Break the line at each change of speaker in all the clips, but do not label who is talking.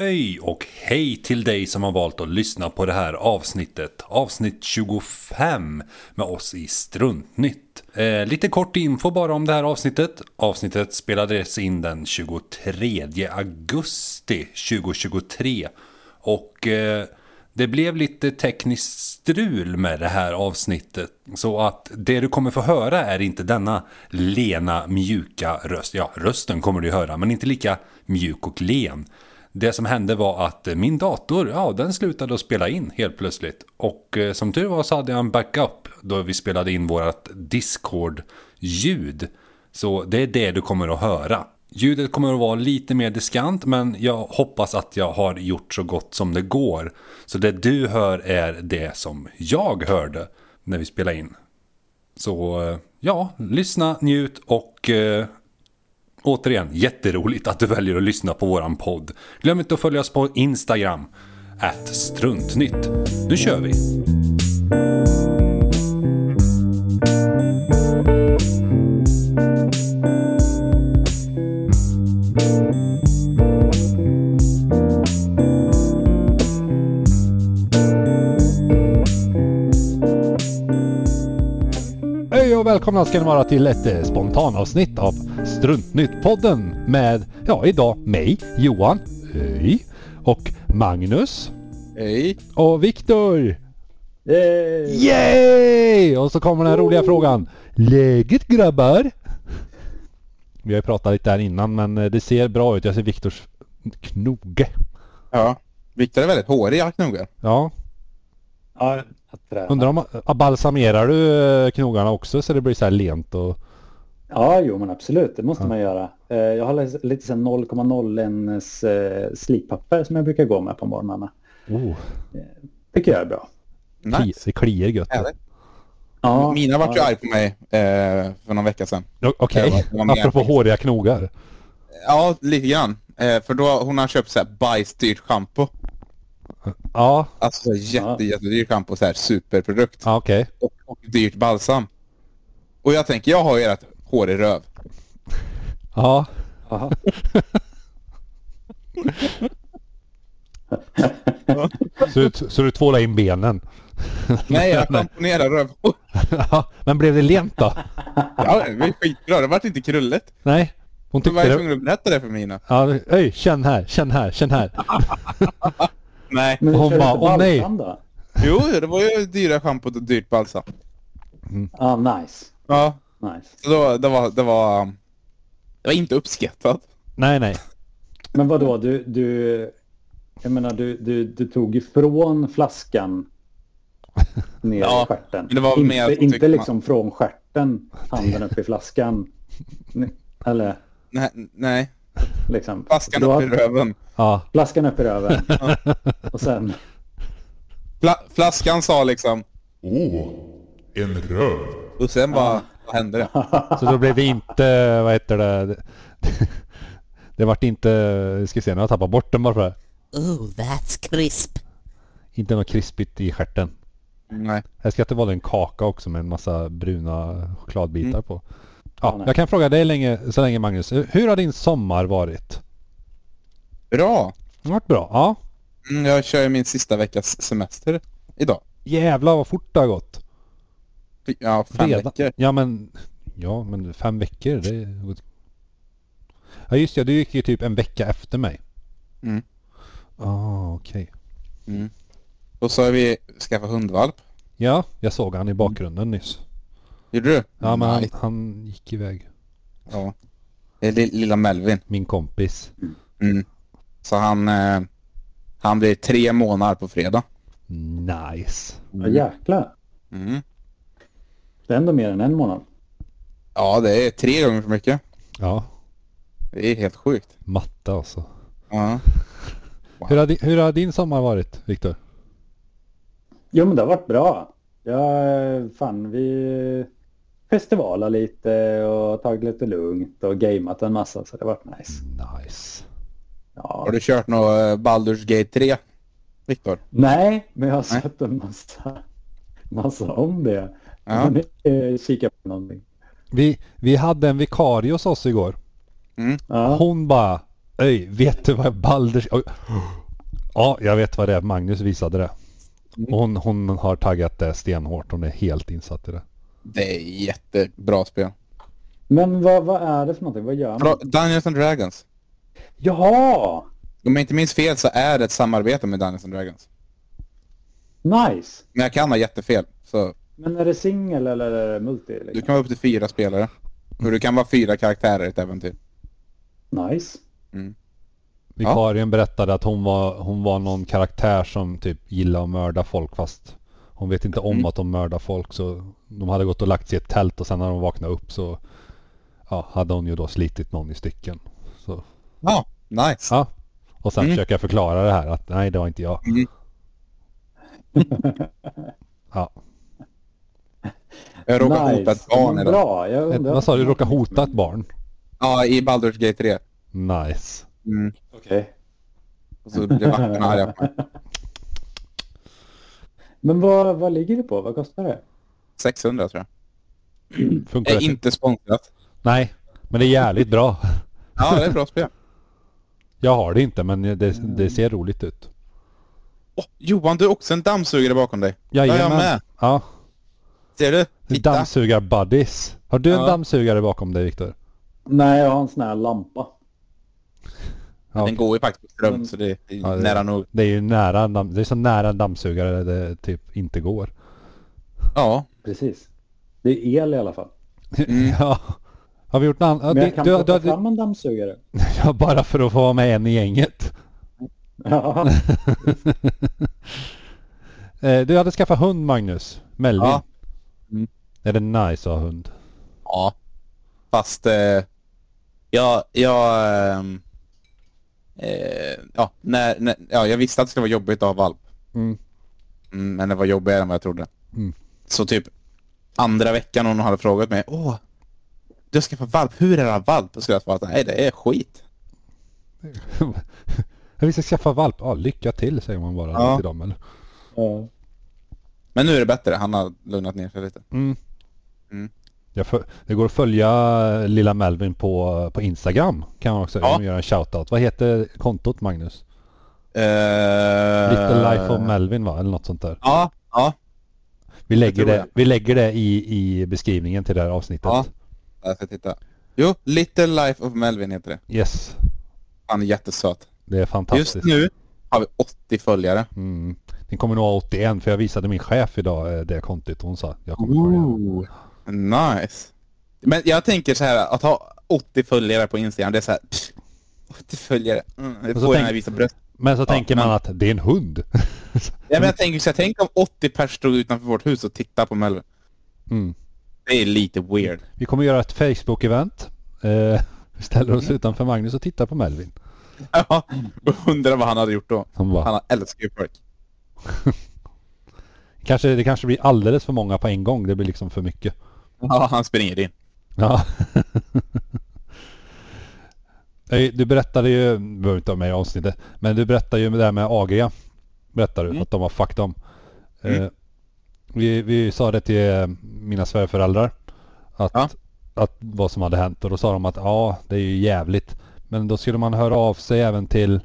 Öj och hej till dig som har valt att lyssna på det här avsnittet. Avsnitt 25 med oss i Struntnytt. Eh, lite kort info bara om det här avsnittet. Avsnittet spelades in den 23 augusti 2023. Och eh, det blev lite tekniskt strul med det här avsnittet. Så att det du kommer få höra är inte denna lena mjuka röst. Ja, rösten kommer du höra, men inte lika mjuk och len. Det som hände var att min dator, ja den slutade att spela in helt plötsligt. Och eh, som tur var så hade jag en backup då vi spelade in vårt Discord-ljud. Så det är det du kommer att höra. Ljudet kommer att vara lite mer diskant men jag hoppas att jag har gjort så gott som det går. Så det du hör är det som jag hörde när vi spelade in. Så eh, ja, lyssna, njut och eh, Återigen, jätteroligt att du väljer att lyssna på våran podd. Glöm inte att följa oss på Instagram, at struntnytt. Nu kör vi!
Hej och välkomna ska ni vara till ett eh, spontanavsnitt av Struntnytt-podden med, ja idag mig, Johan, hej, och Magnus
Hej!
och Viktor. Yay! Och så kommer den roliga frågan. Läget grabbar? Vi har ju pratat lite här innan men eh, det ser bra ut. Jag ser Viktors knoge.
Ja, Viktor är väldigt hårig i knogar.
Ja,
Ja, jag tränar.
undrar om, ah, balsamerar du eh, knogarna också så det blir så här lent och...
Ja, jo men absolut, det måste
Ja.
man göra. Eh, Jag har lite- lite sån 0,01 s, eh, slippapper som jag brukar gå med på morgnarna.
Oh,
Tycker jag är bra.
kli, det kliar gött.
Härligt.
Ja,
Mina vart ju
ja,
arg på mig eh, för någon vecka sedan.
O- Okej,
Det var- det var mer-
apropå håriga knogar.
Ja, lite grann. Eh, för då hon har köpt så här bajsdyrt schampo.
Ja,
Alltså så jätte,
Ja.
jättedyrt schampo, så här superprodukt.
ja okej.
Och, och dyrt balsam. Och jag tänker, jag har ju rätt hårig röv.
Ja,
jaha.
så du, så du tvålar in benen.
Nej, jag schamponerar rövhår.
Ja, Men blev det lent då?
Ja, det var skitbra. Det vart inte krulligt.
Nej? Hon
Du var
tyckte
ju
det...
tvungen att berätta det för Mina.
Ja, öj, känn här, känn här, känn här.
Nej.
Men
Hon
kör
bara,
lite
"Åh, nej."
balsam då?
Jo, det var ju dyra schampot och dyrt balsam.
Ja, nice.
Ja,
nice.
så då, det, var, det var... Det var inte uppskattat.
Nej, nej.
Men vadå, du, du, jag menar, du, du, du tog ifrån flaskan ner
Ja,
i stjärten.
men det var väl mer att
inte
hon tyckte
inte
man-
liksom från stjärten, handen upp i flaskan. Ni- Eller
Nej, nej.
liksom.
Flaskan
Du har-
upp i röven.
Ja,
Flaskan upp i röven. Och sen,
Fla- flaskan sa liksom,
Åh, en röv.
och sen bara, vad hände det?
så då blev det inte, vad heter det? Det vart inte, ska se, nu har jag tappat bort den bara för det.
Ooh, that's crisp.
Inte något krispigt i stjärten.
Nej.
Jag ska inte vara en kaka också med en massa bruna chokladbitar
Mm.
på.
Ja,
Ja,
nej.
jag kan fråga dig länge, så länge Magnus. Hur har din sommar varit?
Bra!
Det har varit bra, ja.
Mm, jag kör ju min sista veckas semester idag.
Jävlar vad fort det har gått.
Fy- Ja, fem
Redan?
veckor.
Ja men, ja men fem veckor det... är- Ja just det, du gick ju typ en vecka efter mig.
Mm.
Ah, okej.
Och så har vi skaffat hundvalp.
Ja, jag såg han i bakgrunden nyss.
Gjorde du?
Ja men han,
Nej.
han gick iväg.
Ja. Det är li- lilla Melvin.
Min kompis.
Mm. Så han, eh, han blir tre månader på fredag.
Nice.
ja jäklar.
Mm.
Det är ändå mer än en månad.
Ja, det är tre gånger för mycket.
Ja,
Det är helt sjukt.
matte alltså.
Ja.
Hur har, di- hur har din sommar varit Viktor?
Jo men det har varit bra. Ja, fan vi festivalar lite och tagit lite lugnt och gameat en massa så det har varit nice.
Nice.
Ja.
Har du kört något eh, Baldur's Gate 3? Viktor?
Nej, men jag har
Nej.
sett en massa, massa om det.
Ja.
Men, eh, kika på någonting.
Vi, vi hade en vikarie hos oss igår.
Ja.
Hon bara Öj, vet du vad Balders... Oj. Ja, jag vet vad det är. Magnus visade det. Och Hon, hon har taggat det stenhårt. Hon är helt insatt i det.
Det är jättebra spel.
Men vad, vad är det för någonting? Vad gör man?
Bra- Dungeons and Dragons.
Jaha!
Om jag inte minns fel så är det ett samarbete med Dungeons and Dragons.
Nice!
Men jag kan ha jättefel. Så
Men är det singel eller är det multi?
du
Liksom?
kan vara upp till fyra spelare. Och du kan vara fyra karaktärer i ett äventyr.
Nice.
Vikarien berättade att hon var, hon var någon karaktär som typ gillade att mörda folk fast hon vet inte om att de mördar folk så de hade gått och lagt sig i ett tält och sen när de vaknade upp så ja, hade hon ju då slitit någon i stycken. Så,
Ja, nice.
ja. Och sen
Mm.
försöka förklara det här att nej det var inte jag.
Mm.
ja.
Jag råkar
nice.
hota ett barn
Men
idag.
Bra, jag undrar.
Vad sa du, råka hota ett barn?
Ja, i Baldur's Gate 3.
Nice.
Mm.
Okej.
Och så blev vakterna arga på mig.
Men vad, vad ligger det på? Vad kostar det?
600 tror jag.
Funkar
Det är typ-
det?
inte sponsrat.
Nej, men det är jävligt bra.
Ja, det är ett bra spel.
Jag har det inte men det, det ser roligt ut.
Åh, Johan, du är också en dammsugare bakom dig. Ja, jag med.
Ja.
Ser du? Titta.
Dammsugar-buddies. Har du en
Ja.
dammsugare bakom dig Viktor?
Nej, jag har en sån här lampa.
Ja,
Den går ju faktiskt på ström så det är
Ja, det-
nära nog.
Det är ju nära, en damm- det är så nära en dammsugare det typ inte går.
Ja.
Precis. Det är el i alla fall.
Mm.
ja. Har vi gjort något annat?
Men jag kan
Du, du,
plocka
du,
fram en dammsugare.
ja, bara för att få vara med en i gänget.
Ja.
Eh, du hade skaffat hund Magnus. Melvin.
Ja. Mm.
Är det nice att ha hund?
Ja. Fast eh, jag, jag, ehm, eh, ja, när, när, ja, jag visste att det skulle vara jobbigt att ha valp.
Mm.
Mm, men det var jobbigare än vad jag trodde.
Mm.
Så typ andra veckan hon hade frågat mig, åh, du ska få valp, hur är det att ha valp? Och skulle jag svara, nej det är skit.
vi ska skaffa valp. Ja, lycka till säger man bara
Ja.
till dem eller?
Ja.
Men nu är det bättre, han har lugnat ner sig lite.
Mm.
Mm.
Jag föl- det går att följa eh, lilla Melvin på, eh, på Instagram. Kan man också
Ja.
göra en shoutout. Vad heter kontot Magnus?
Eh,
Little Life of Melvin va? Eller något sånt där.
Ja, ja,
Vi lägger
tror
det,
jag.
vi lägger det i, i beskrivningen till det här avsnittet.
Ja. jag ska titta. Jo, Little Life of Melvin heter det.
Yes,
Han är jättesöt.
det är fantastiskt.
Just nu har vi 80 följare.
Mm. Den kommer nog ha 81 för jag visade min chef idag eh, det kontot och hon sa jag kommer följa den.
Nice. Men jag tänker så här, att ha 80 följare på Instagram, det är så här... Pff, 80 följare. Mm, det
så
får jag
tänk-
när jag visar bröst.
Men så tänker man
men-
att det är en hund.
Ja,
Mm.
men jag tänker så här, tänk om 80 personer stod utanför vårt hus och tittade på Melvin.
Mm.
Det är lite weird.
Vi kommer göra ett Facebook-event. Eh, vi ställer oss utanför Magnus och tittar på Melvin.
Ja, undrar vad han hade gjort då.
Han bara,
Han älskar ju folk.
Kanske, det kanske blir alldeles för många på en gång. Det blir liksom för mycket.
Ja, han springer in.
Ja. Nej, Du berättade ju, vi behöver inte ha med i avsnittet, men du berättade ju det här med Agria. Berättade du,
Mm.
att de var fuck dem. Eh, vi, vi sa det till eh, mina svärföräldrar. Att,
Ja.
att vad som hade hänt. Och då sa de att ja, det är ju jävligt. Men då skulle man höra av sig även till,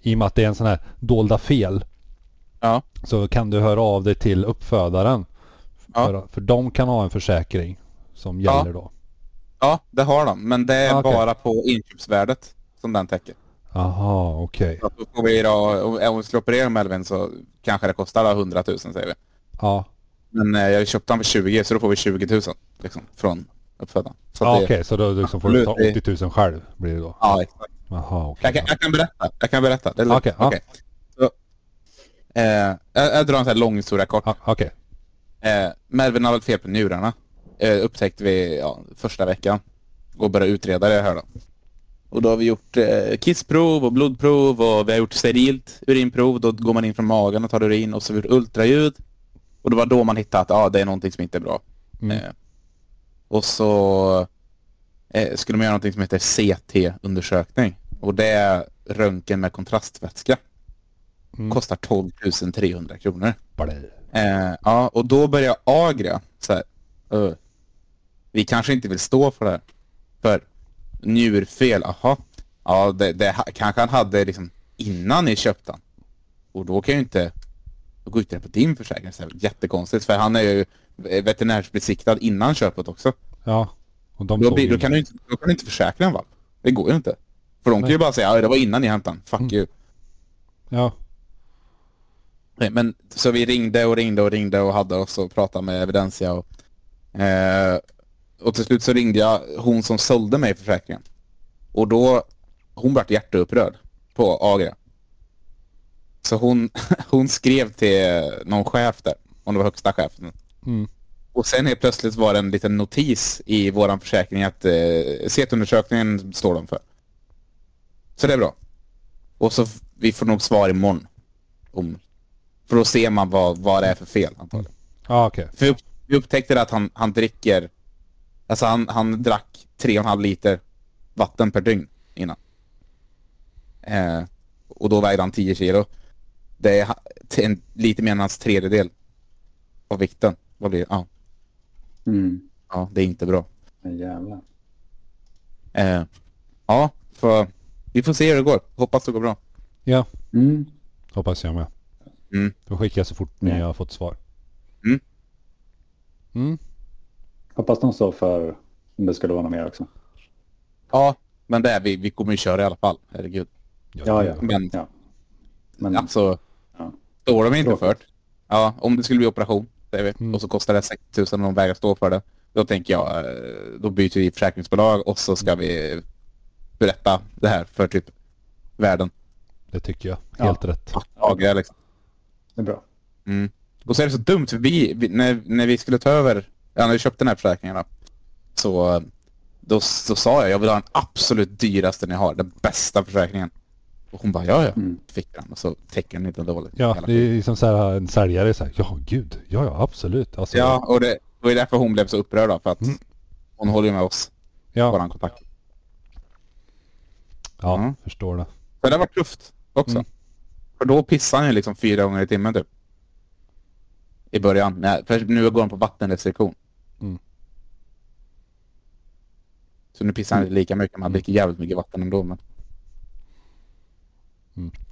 i och med att det är en sån här dolda fel.
Ja.
Så kan du höra av dig till uppfödaren.
Ja.
För, för de kan ha en försäkring som gäller
Ja.
då.
Ja, det har de. Men det är
Ja, okej.
bara på inköpsvärdet som den täcker.
Aha, okej.
Så att Då får vi då, om vi skulle operera Melvin så kanske det kostar 100 000 säger vi.
Ja,
Men eh, jag köpte den för 20 så då får vi 20 000 liksom, från uppfödaren. Så att
ja
det-
okej. Så då liksom får du ta
Absolut,
80 000 själv blir det då.
Ja, exakt.
Aha, okej.
Jag kan, jag kan berätta. Jag kan berätta. Det är lugnt.
Ah, Okej, ja.
Okej. Så, eh, jag, jag drar en sån här lång historia kort.
Ja, okej.
Eh, Melvin har väl fel på njurarna. Eh, upptäckte vi ja, första veckan. Och började utreda det här då. Och då har vi gjort eh, kissprov och blodprov och vi har gjort sterilt urinprov. Då går man in från magen och tar urin och så har vi gjort ultraljud. Och det var då man hittade att ah, det är någonting som inte är bra.
Mm.
Eh, och så eh, skulle man göra någonting som heter CT-undersökning. Och det är röntgen med kontrastvätska.
Mm.
Kostar 12 300 kronor.
Blä.
Eh, ja, och då börjar Agra så här. "Ö, vi kanske inte vill stå för det här. För njurfel, aha. Ja, Ja, det, det ha- kanske han hade liksom innan ni köpte han. Och då kan ju inte då går ju inte den på din försäkring. Så här, Jättekonstigt, för han är ju veterinärsbesiktad innan köpet också.
Ja. Och de
Då,
såg
blir,
ju
då, kan du inte, då kan du inte försäkra en valp. Det går ju inte. För de kan ju bara säga ja, det var innan ni hämtade han. Fuck you.
Ja.
Nej, men så vi ringde och ringde och ringde och hade oss och pratade med Evidensia och, eh, och till slut så ringde jag hon som sålde mig försäkringen. Och då, hon vart hjärteupprörd på Agra. Så hon, hon skrev till någon chef där, om det var högsta chefen.
Mm.
Och sen helt plötsligt var det en liten notis i våran försäkring att eh, CET-undersökningen står de för. Så det är bra. Och så f- vi får nog svar imorgon. Om för då ser man vad, vad det är för fel antagligen.
Ja, okej.
För vi upp- vi upptäckte att han, han dricker, alltså han, han drack tre och en halv liter vatten per dygn innan. Eh, och då vägde han 10 kilo. Det är ha- till en, lite mer än hans tredjedel av vikten. Vad blir det? Ja,
Mm.
ja, det är inte bra.
Men jävlar.
Eh, ja, för vi får se hur det går. Hoppas det går bra.
Ja,
Mm.
hoppas jag med.
Mm.
Då skickar jag så fort ni
Mm.
har fått svar.
Mm.
Mm.
Hoppas de står för om det skulle vara något mer också.
Ja, men det är vi. Vi kommer ju köra i alla fall. Herregud.
Ja, ja.
Men
ja. Men
Alltså,
Ja.
står de inte
Tråkigt.
för det, ja, om det skulle bli operation, säger vi,
Mm.
och så kostar det 60 000 om de vägrar stå för det, då tänker jag, eh, då byter vi försäkringsbolag och så ska vi berätta det här för typ världen.
Det tycker jag.
Ja.
Helt rätt.
Lagra, liksom.
det är bra.
Mm. Och så är det så dumt, för vi, vi när, när vi skulle ta över, ja, när vi köpte den här försäkringen då, så eh, då, så sa jag, jag vill ha den absolut dyraste ni har, den bästa försäkringen. Och hon bara, ja ja,
Mm.
fick den och så täcker den inte dåligt.
Ja,
Jävla
det är liksom så här en säljare säger ja gud, ja ja absolut. Alltså,
Ja, och det var ju därför hon blev så upprörd då, för att
Mm.
hon håller ju med oss,
ja,
våran kontakt.
ja
Mm.
förstår det.
Men det var tufft också.
Mm.
För då pissar han ju liksom fyra gånger i timmen typ. I början. Nej, för nu går han på vattenrestriktion.
Mm.
Så nu pissar han
Mm.
inte lika mycket, man dricker jävligt mycket vatten ändå. Men...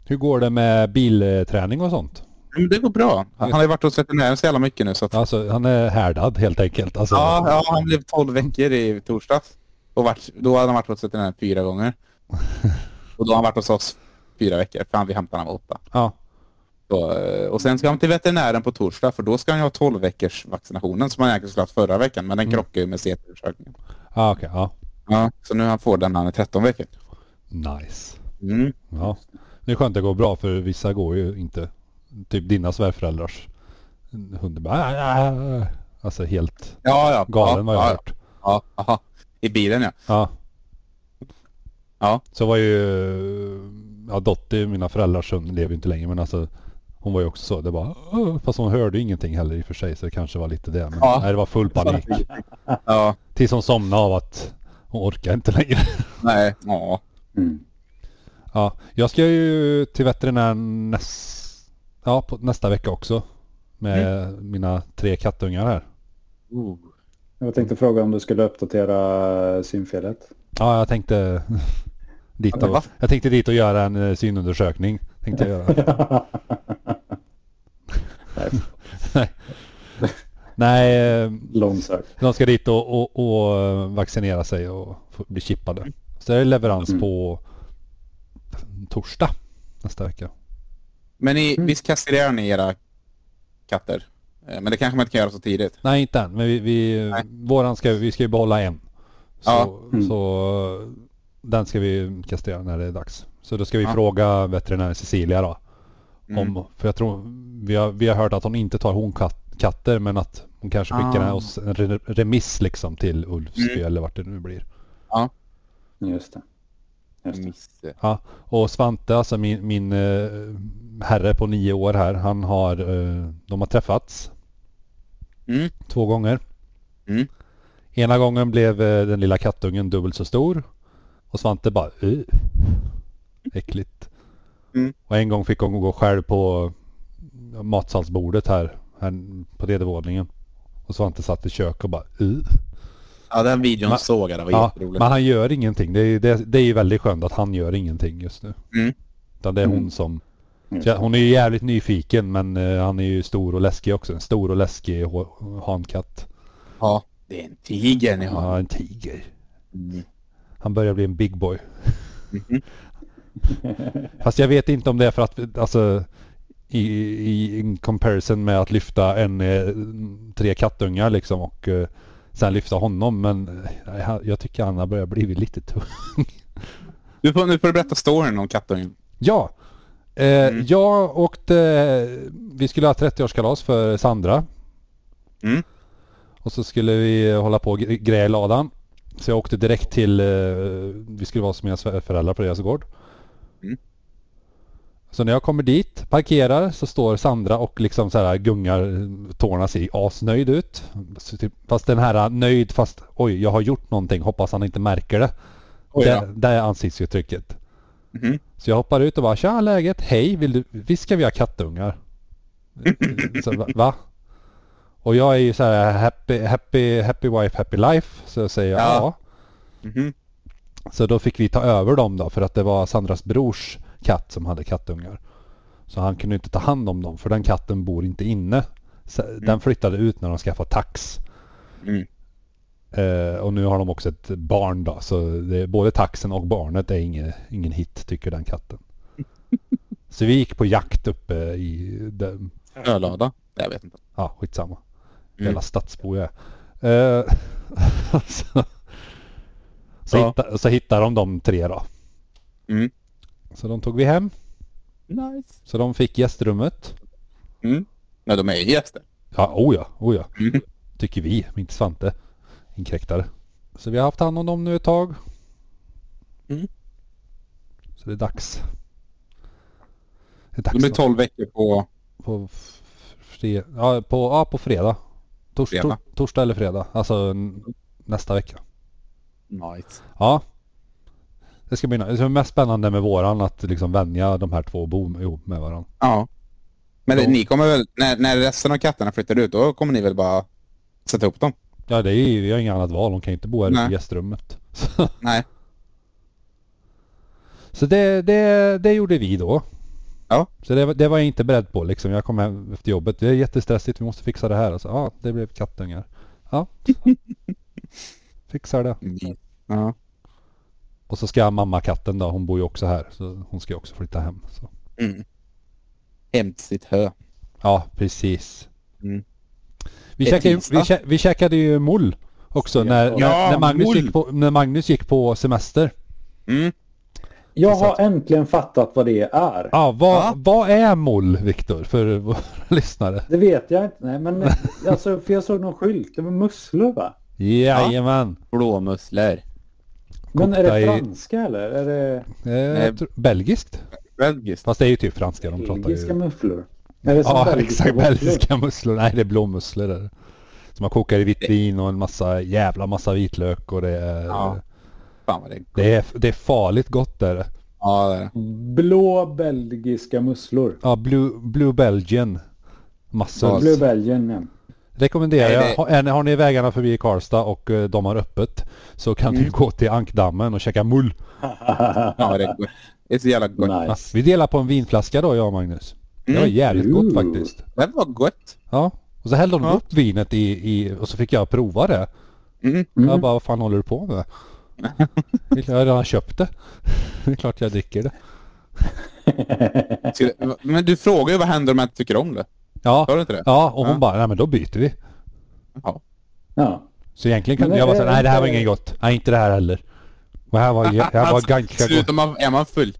Hur går det med bilträning och sånt?
Men det går bra. Han har ju varit hos veterinären så jävla mycket nu så att...
Alltså han är härdad helt enkelt. Alltså,
Ja, ja, han blev 12 veckor i torsdags. Och vart, då hade han varit hos veterinären fyra gånger. Och då har han varit hos oss fyra veckor, för han, vi hämtade honom åtta.
ja.
Så, eh, och sen ska han till veterinären på torsdag för då ska han ju ha 12 veckors vaccinationen som han egentligen skulle ha haft förra veckan
Mm.
men den krockar ju med CT-undersökningen.
Ah, okej, ja.
Ja, så nu han får den när han är 13 veckor.
Nice.
Mm.
Ja. Det är skönt att det går bra för vissa går ju inte. Typ dina svärföräldrars hund bara "Ah, ah, ah." Alltså helt
Ja, ja.
galen
ja,
vad jag har
ja,
hört.
ja, aha. I bilen ja.
Ja.
Ja.
Så var ju, ja Dotti, mina föräldrars son, lever ju inte längre men alltså hon var ju också så. Det bara, "Åh." fast hon hörde ju ingenting heller i och för sig så det kanske var lite det. Men
Ja.
nej, det var full panik.
Ja,
Tills hon somnade av att hon orkar inte längre.
nej. Ja.
Mm.
Ja, jag ska ju till veterinären näs... ja, på nästa vecka också. Med
Mm.
mina tre kattungar här.
Jag tänkte fråga om du skulle uppdatera synfelet.
Ja, jag tänkte dit
Ja, va?
och, jag tänkte dit och göra en eh, synundersökning. Tänkte jag göra. Nej. Nej, eh,
Långsökt.
de ska dit och, och, och eh, vaccinera sig och få bli chippade. Så det är leverans
Mm.
på torsdag nästa vecka.
Men ni,
Mm.
visst kastrerar ni era katter? Eh, Men det kanske man inte kan göra så tidigt.
Nej, inte än. Men vi, vi,
Nej.
våran ska, vi ska ju behålla en. Så,
Ja.
Mm.
så eh, den ska vi kastrera när det är dags. Så då ska vi
Ja.
fråga veterinären Cecilia då.
Mm.
Om, för jag tror, vi har, vi har hört att hon inte tar honkatter men att hon kanske skickar
Ah. Mm.
oss en re- remiss liksom till Ulfsby eller vart det nu blir.
Just det. Just det.
Miss. eh,
Ja, och Svante, alltså min, min eh, herre på nio år här, han har, eh, de har träffats
Mm.
två gånger.
Mm.
Ena gången blev eh, den lilla kattungen dubbelt så stor och Svante bara "Ugh, äckligt.
Mm.
Och en gång fick hon gå själv på matsalsbordet här, här på nedervåningen. Och Svante satt i kök och bara "Ugh."
Ja, den videon
Ma-
såg jag. Det var
Ja,
jätteroligt.
men han gör ingenting. Det är, ju- det, det är ju väldigt skönt att han gör ingenting just nu.
Mm.
Utan det är hon som... Så jag- Hon är ju jävligt nyfiken men eh, han är ju stor och läskig också. En stor och läskig ho- hankatt.
Ja. Det är en tiger ni har.
Ja, en tiger.
Mm.
Han börjar bli en big boy.
Mm-hmm.
Fast jag vet inte om det är för att, alltså i, i in comparison med att lyfta en, eh, tre kattungar liksom och eh, sen lyfta honom. Men eh, han- jag tycker han har börjat bli lite tung.
Du får, nu får du berätta storyn om kattungen.
Ja. Eh, Jag åkte, vi skulle ha 30-årskalas för Sandra.
Mm.
Och så skulle vi hålla på och gre- greja i ladan. Så jag åkte direkt till, eh, vi skulle vara hos mina sve- föräldrar på deras gård.
Mm.
Så när jag kommer dit, parkerar, så står Sandra och liksom så här gungar eh, tårna sig asnöjd ut. Så typ- Fast den här nöjd, fast oj, jag har gjort någonting, hoppas han inte märker det.
Oj,
det,
ja.
det är ansiktsuttrycket.
Mhm.
Så jag hoppar ut och bara tja läget, hej, vill du, visst ska vi ha kattungar? så, va- va? Och jag är ju så här happy, happy, happy wife, happy life. Så jag säger ja.
Ja. Mhm.
Så då fick vi ta över dem då för att det var Sandras brors katt som hade kattungar. Så han kunde inte ta hand om dem för den katten bor inte inne. Så, Den flyttade ut när de skaffade tax.
Mm.
Eh, och nu har de också ett barn då. Så det, både taxen och barnet är ingen, ingen hit tycker den katten. så vi gick på jakt uppe i den,
Ölada? Jag vet inte.
Ja, skitsamma.
Mm.
Jävla stadsbo jag är. Eh, så så,
Ja.
hitta, så hittade de de tre då.
Mm.
Så de tog vi hem.
Nice.
Så de fick gästrummet.
Nej, de är ju gäster.
Ja, oh ja, oh ja.
Mm.
Tycker vi, men inte Svante. Inkräktare. Så vi har haft hand om dem nu ett tag.
Mm.
Så det är dags. Det är dags
De är
då.
12 veckor på...
På, fre- ja, på, ja, på fredag. Tors,
Fredag.
Tor, torsdag eller fredag. Alltså n- nästa vecka.
Nice.
Ja. Det ska bli nice. det är mest spännande med våran att liksom vänja de här två och bo med- ihop med varandra.
Ja. Men det,
Ja.
ni kommer väl... När, när resten av katterna flyttar ut, då kommer ni väl bara sätta ihop dem?
Ja det är ju, vi har inget annat val. De kan ju inte bo här ute
Nej.
i gästrummet. Så,
Nej.
så det, det, det gjorde vi då.
Ja.
Så det, var- det var jag inte beredd på liksom. Jag kom hem efter jobbet. Det är jättestressigt. Vi måste fixa det här. Och så, ja, det blev kattungar. Ja. Fixar det.
Mm. Ja.
Och så ska mammakatten då. Hon bor ju också här. Så hon ska ju också flytta hem. Så.
Hem till sitt hö.
Ja, precis.
Mm.
Vi,
Det är
käkade, ju- vi,
tisdag.
kä- vi käkade ju mull också när, när,
Ja,
när, Magnus
mull.
gick på, när Magnus gick på semester.
Mm.
Jag har äntligen fattat vad det är.
Ja, vad,
Ja.
vad är mull, Viktor, för våra lyssnare?
Det vet jag inte. Nej, men alltså, för jag såg någon skylt. Det var musslor va?
Jajamän.
Blåmusslor.
Men är
Kokta
det
i-
franska eller? Är det
Eh, jag tror- belgiskt?
Belgiskt.
Fast det är ju typ franska de pratar
belgiska
ju.
mufflor? Är det som
Ja,
belgiska
exakt.
våfflor?
Belgiska musslor. Nej, det är blåmusslor där. Som man kokar i
Eh.
vitt vin och en massa, jävla massa vitlök och det är,
Ja. Fan vad det är.
det är, det är farligt gott där.
Ja, det är det.
Blå belgiska musslor.
Ja, Blue, Blue Belgian. Massor.
Ja,
Blue Belgian, ja.
Rekommenderar
Nej,
jag.
det-
Har, är ni- har ni vägarna förbi Karlstad och eh, de har öppet så kan ni gå till ankdammen och käka mull.
Fan vad det är. gott. Det är så jävla gott.
Ja,
Nice.
vi delar på en vinflaska då jag och Magnus. Det var
Mm.
jävligt
Ooh.
gott faktiskt.
Det var gott.
Ja. Och så hällde de
Ja.
upp vinet i, i och så fick jag prova det.
Mm.
Jag bara, vad fan håller du på med? Det är klart Jag har redan köpt det. Det är klart jag dricker det.
Ska det- Men du frågar ju vad händer om jag inte tycker om det.
Ja,
Sa du inte det?
ja och hon
Ja.
bara, nej men då byter vi.
Ja.
Så egentligen kunde
Men
jag
det
bara säga,
är
nej det här var
inte-
inget gott. Nej inte det här heller. Det här var, det här var ganska gott.
Sluta, man, är man full?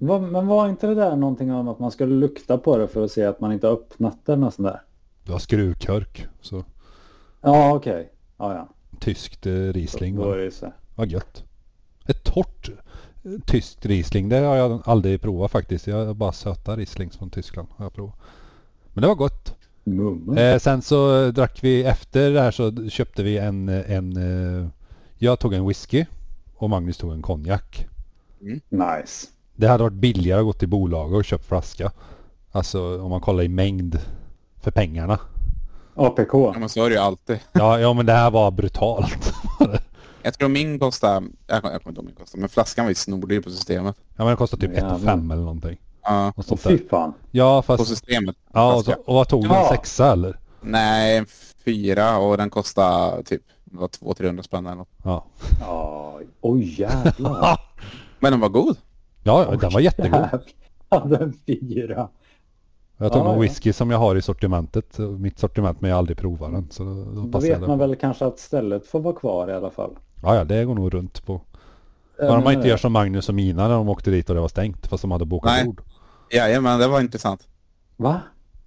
Va- Men var inte det där någonting om att man skulle lukta på det för att se att man inte har öppnat den och sånt där?
Det var skruvkörk. Så
Ja, okej. Ja, ja.
tyskt eh, Riesling
Då är
var,
det ju så.
var gött. Ett torrt eh, tyskt Riesling. Det har jag aldrig provat faktiskt. Jag har bara söta Rieslings från Tyskland. Har jag provat. Men det var gott.
Mumma.
Eh, sen så eh, drack vi efter det här så köpte vi en, eh, en eh, jag tog en whisky och Magnus tog en konjak.
Nice.
Det hade varit billigare att gå till bolaget och köpa flaska. Alltså om man kollar i mängd för pengarna.
APK.
Ja, men så är det ju alltid.
Ja, ja men det här var brutalt.
Jag tror min kostar... Jag kommer jag kommer inte ihåg min kostar, men flaskan var ju snordyr på systemet.
Ja men det kostade typ
Ja,
1
jävlar.
fem eller någonting.
Ja,
Något
Åh,
sånt
fy
där.
fan.
Ja
på
fast...
systemet.
Ja, och, så,
flaskan.
och vad tog du? En
Ja.
sexa eller?
Nej, en fyra och den kostar typ det var 200-300 spänn eller något.
Ja.
Ja, oj jävlar.
Men den var god.
Ja, ja den var jättegod.
Jävlar, den fyra.
Jag tog
Ja,
någon
ja.
whisky som jag har i sortimentet. Mitt sortiment men jag har aldrig provat den. Så då, då
Då
passar
vet
jag
man
den.
väl kanske att stället får vara kvar i alla fall. Eh,
Ja, ja det går nog runt på.
Ja,
Bara man
men-
inte gör som Magnus och Mina när de åkte dit och det var stängt. Fast de hade bokat
Nej.
bord.
Jajamän, det var intressant.
Va?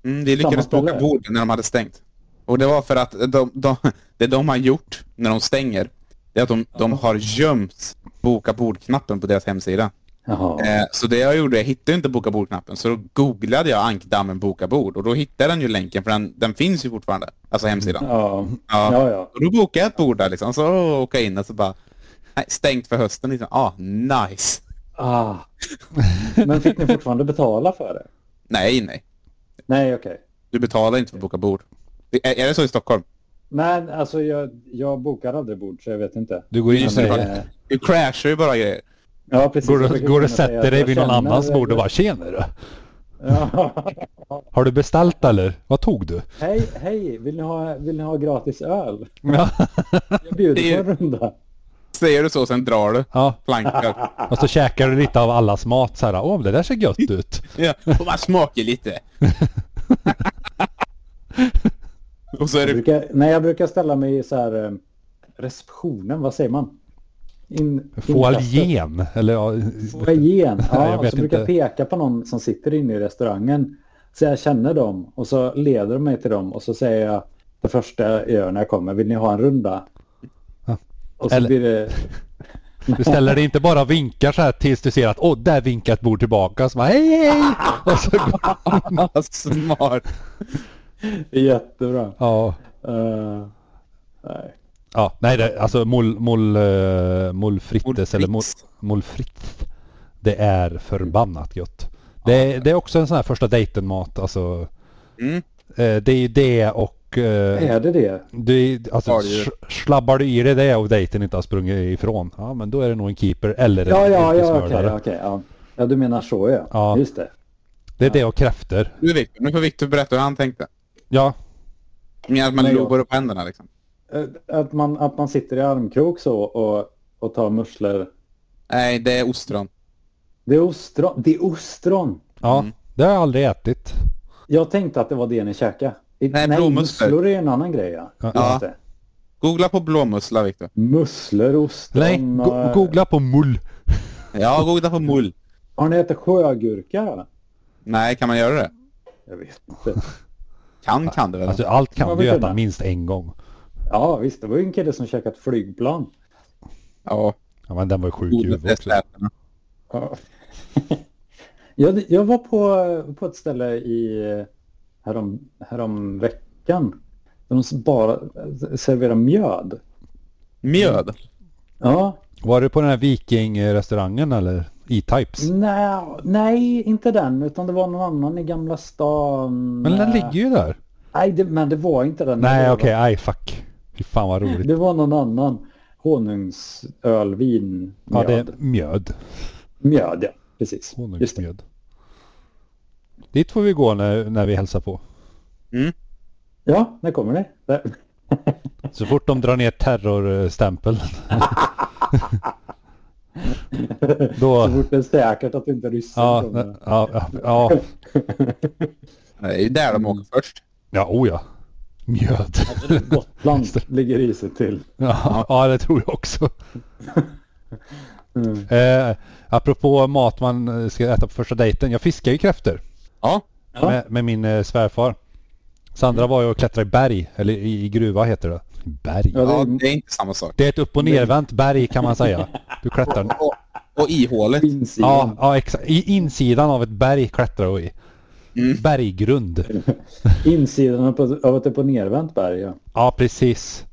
Mm, vi lyckades
ställe?
boka bord när de hade stängt. Och det var för att de, de, det de har gjort när de stänger, det är att de, de har gömt boka bord-knappen på deras hemsida.
Jaha.
Eh, så det jag gjorde, jag hittade inte boka bord-knappen, så då googlade jag ankdammen boka bord och då hittade den ju länken, för den, den finns ju fortfarande, alltså hemsidan.
Ja,
Ja.
Mm. ja, ja.
Och då bokade jag ett bord där liksom, så åker jag in och så bara, nej, stängt för hösten liksom, ah, nice.
Ah. Men fick ni fortfarande betala för det?
Nej, nej.
Nej, okej.
Du betalar inte för att boka bord. Det- Är, är det så i Stockholm?
Nej, alltså jag, jag bokar aldrig bord så jag vet inte.
Du går in och
Just det,
säger.
bara-
Eh,
Du crashar ju bara grejer.
Ja, precis.
Går
Jag
du,
brukar
går du
kunna
och
säga att
sätter dig
jag
vid någon
känner-
annans bord och bara tjena du.
Ja.
Har du beställt eller? Vad tog du?
Hej, hej, vill ni, ha, vill ni ha gratis öl?
Ja.
Jag
Det är
bjuder
ju-
på en runda.
Säger du så, sen drar du.
ja.
Plankar.
Och så käkar du lite av allas mat så här. Åh men det där ser gött ut.
ja, och man smakar lite. och så är
Jag
det...
brukar, nej, jag brukar ställa mig i så här eh, receptionen, vad säger man? In, inkastet.
Foajén. Eller ja.
Foajén.
Ja, jag
Ja, och
vet
så brukar jag
inte.
peka på någon som sitter inne i restaurangen. Så jag känner dem och så leder de mig till dem och så säger jag det första jag gör när jag kommer, vill ni ha en runda?
Ja.
Och så
Eller-
blir det,
Du ställer dig inte bara och vinkar så här tills du ser att åh där vinkar ett bord tillbaka. Så bara hej hej. Och så,
Smart.
det är jättebra.
ja.
Eh, nej.
Ja, nej det, alltså mol, mol, uh, molfrittes eller mol,
Molfritz.
molfritt. Det är förbannat gött. Det, det är också en sån här första dejten mat alltså.
Mm.
Eh, det är ju det och eh,
Är det det?
det är, alltså,
Har du-
sch- slabbar du i dig det och dejten inte har sprungit ifrån. Ja men då är det nog en keeper eller en
Ja, ja, ja, okej,
yrkesmördare.
ja, okej. ja. ja, du menar så ja.
Ja.
Just det.
Det är det och kräfter.
Nu, Victor, nu får Victor berätta hur han tänkte.
Ja,
Men att man
Nej, jag-
lovar upp händerna liksom.
Eh, Att man, att man sitter i armkrok så och, och tar musslor.
Nej, det är ostron.
Det är ostron. Det är ostron.
ja.
Mm.
Det har jag aldrig ätit.
Jag tänkte att det var det ni käkade. I-
Nej,
Nej
blåmusslor.
musslor är en annan grej. Ja.
Ja.
Just det.
Googla på blåmussla, Victor.
Musslor, eh, ostron.
Nej, go-
och-
googla på mull.
Ja, googla på mull.
Har ni ätit sjögurka?
Nej, kan man göra det?
Jag vet inte.
Kan, kan du väl?
Alltså allt kan
Vad
du ju
betyder
äta
det?
minst en gång.
Ja visst, det var ju en kille som käkat flygplan.
ja,
Ja men den var ju sjuk i
googla
huvudet också.
flätorna.
Ja. jag, jag var på, på ett ställe i härom, härom veckan. De bara eh, serverar mjöd.
Mjöd.
Ja,
Var du på den här vikingrestaurangen eller? E-Types?
Mm, nej, nej, inte den utan det var någon annan i Gamla stan.
Men den ligger ju där.
Nej, det, men det var inte den. Mm, Det
Nej
var-
okej, okay. aj fuck. Fy fan vad roligt.
Det var någon annan honungsölvin.
Ja
Mjöd.
det är mjöd.
Mjöd, ja. Precis. Just det.
Honungsmjöd. Dit får vi gå när, när vi hälsar på.
Ja, när kommer det? Där.
Så fort de drar ner terrorstämpeln. Då...
Så fort det är säkert att det inte är ryssen
Ja,
kommer.
ja, ja, ja,
Det är ju där de åker först.
ja, oh ja. Mjöd.
Gotland ligger risigt till.
Ja, ja, det tror jag också.
Mm.
Eh, apropå mat man eh, ska äta på första dejten. Jag fiskar ju kräftor
Ja,
Ja.
med, med min eh, svärfar. Sandra var ju och klättrade i berg, eller i, i gruva heter det. Berg?
Ja, det-
ja, det är inte samma sak.
Det är ett upp och nervänt berg kan man säga. Du klättrar...
Och, och ihåligt.
Ja,
Insidan.
ja exakt. I insidan av ett berg klättrar du i.
Mm.
Berggrund.
Insidan på- av ett upp och nervänt berg, ja.
Ja, precis.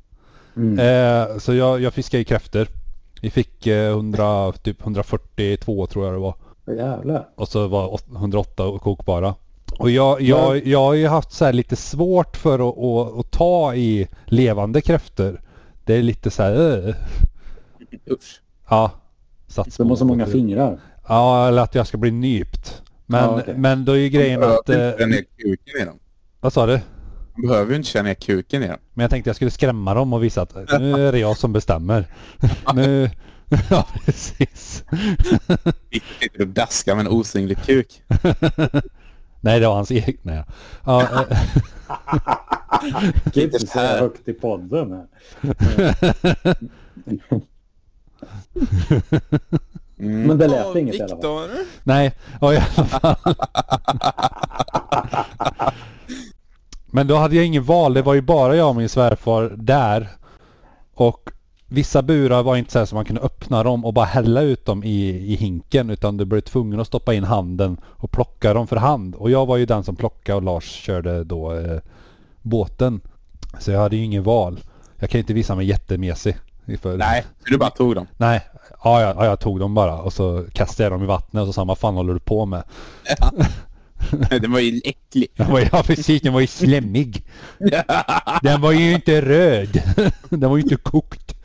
Mm.
Eh, så jag, jag fiskade ju kräftor. Vi fick eh, 100, typ 142 tror jag det var.
Åh, Jävlar.
Och så var åt- 108 kokbara. Och jag, jag, jag har ju haft så här lite svårt för att, att, att ta i levande kräftor. Det är lite så här... Äh.
Usch.
Ja. Satt
Som har så
på-
många fingrar.
Ja, eller att jag ska bli nypt. Men,
Ja, okej.
men då är ju grejen
Man
att...
behöver
Eh,
inte känna ner kuken i dem.
vad sa du?
Man behöver ju inte känna ner kuken i dem.
Men jag tänkte jag skulle skrämma dem och visa att nu är det jag som bestämmer. nu... Ja, precis.
Viktor sitter och daskar med en osynlig kuk.
Nej, det var hans eget. Nej. Ja, eh,
Kan inte
så här.
säga högt i podden. Här.
Mm.
Men det lät inget i alla fall.
Viktor!
nej, ja, i alla fall. Men då hade jag ingen val. Det var ju bara jag och min svärfar där. Och vissa burar var inte så här som man kunde öppna dem och bara hälla ut dem i, i hinken. Utan du blev tvungen att stoppa in handen och plocka dem för hand. Och jag var ju den som plockade och Lars körde då eh, båten. Så jag hade ju ingen val. Jag kan ju inte visa mig jättemesig. För...
Nej, du bara tog dem.
Nej, ja, ja, ja, jag tog dem bara och så kastade jag dem i vattnet och så sa han, vad fan håller du på med?
Den var ju äcklig.
Den var, ju- ja precis, den var ju slemmig. Den var ju inte röd. Den var ju inte kokt.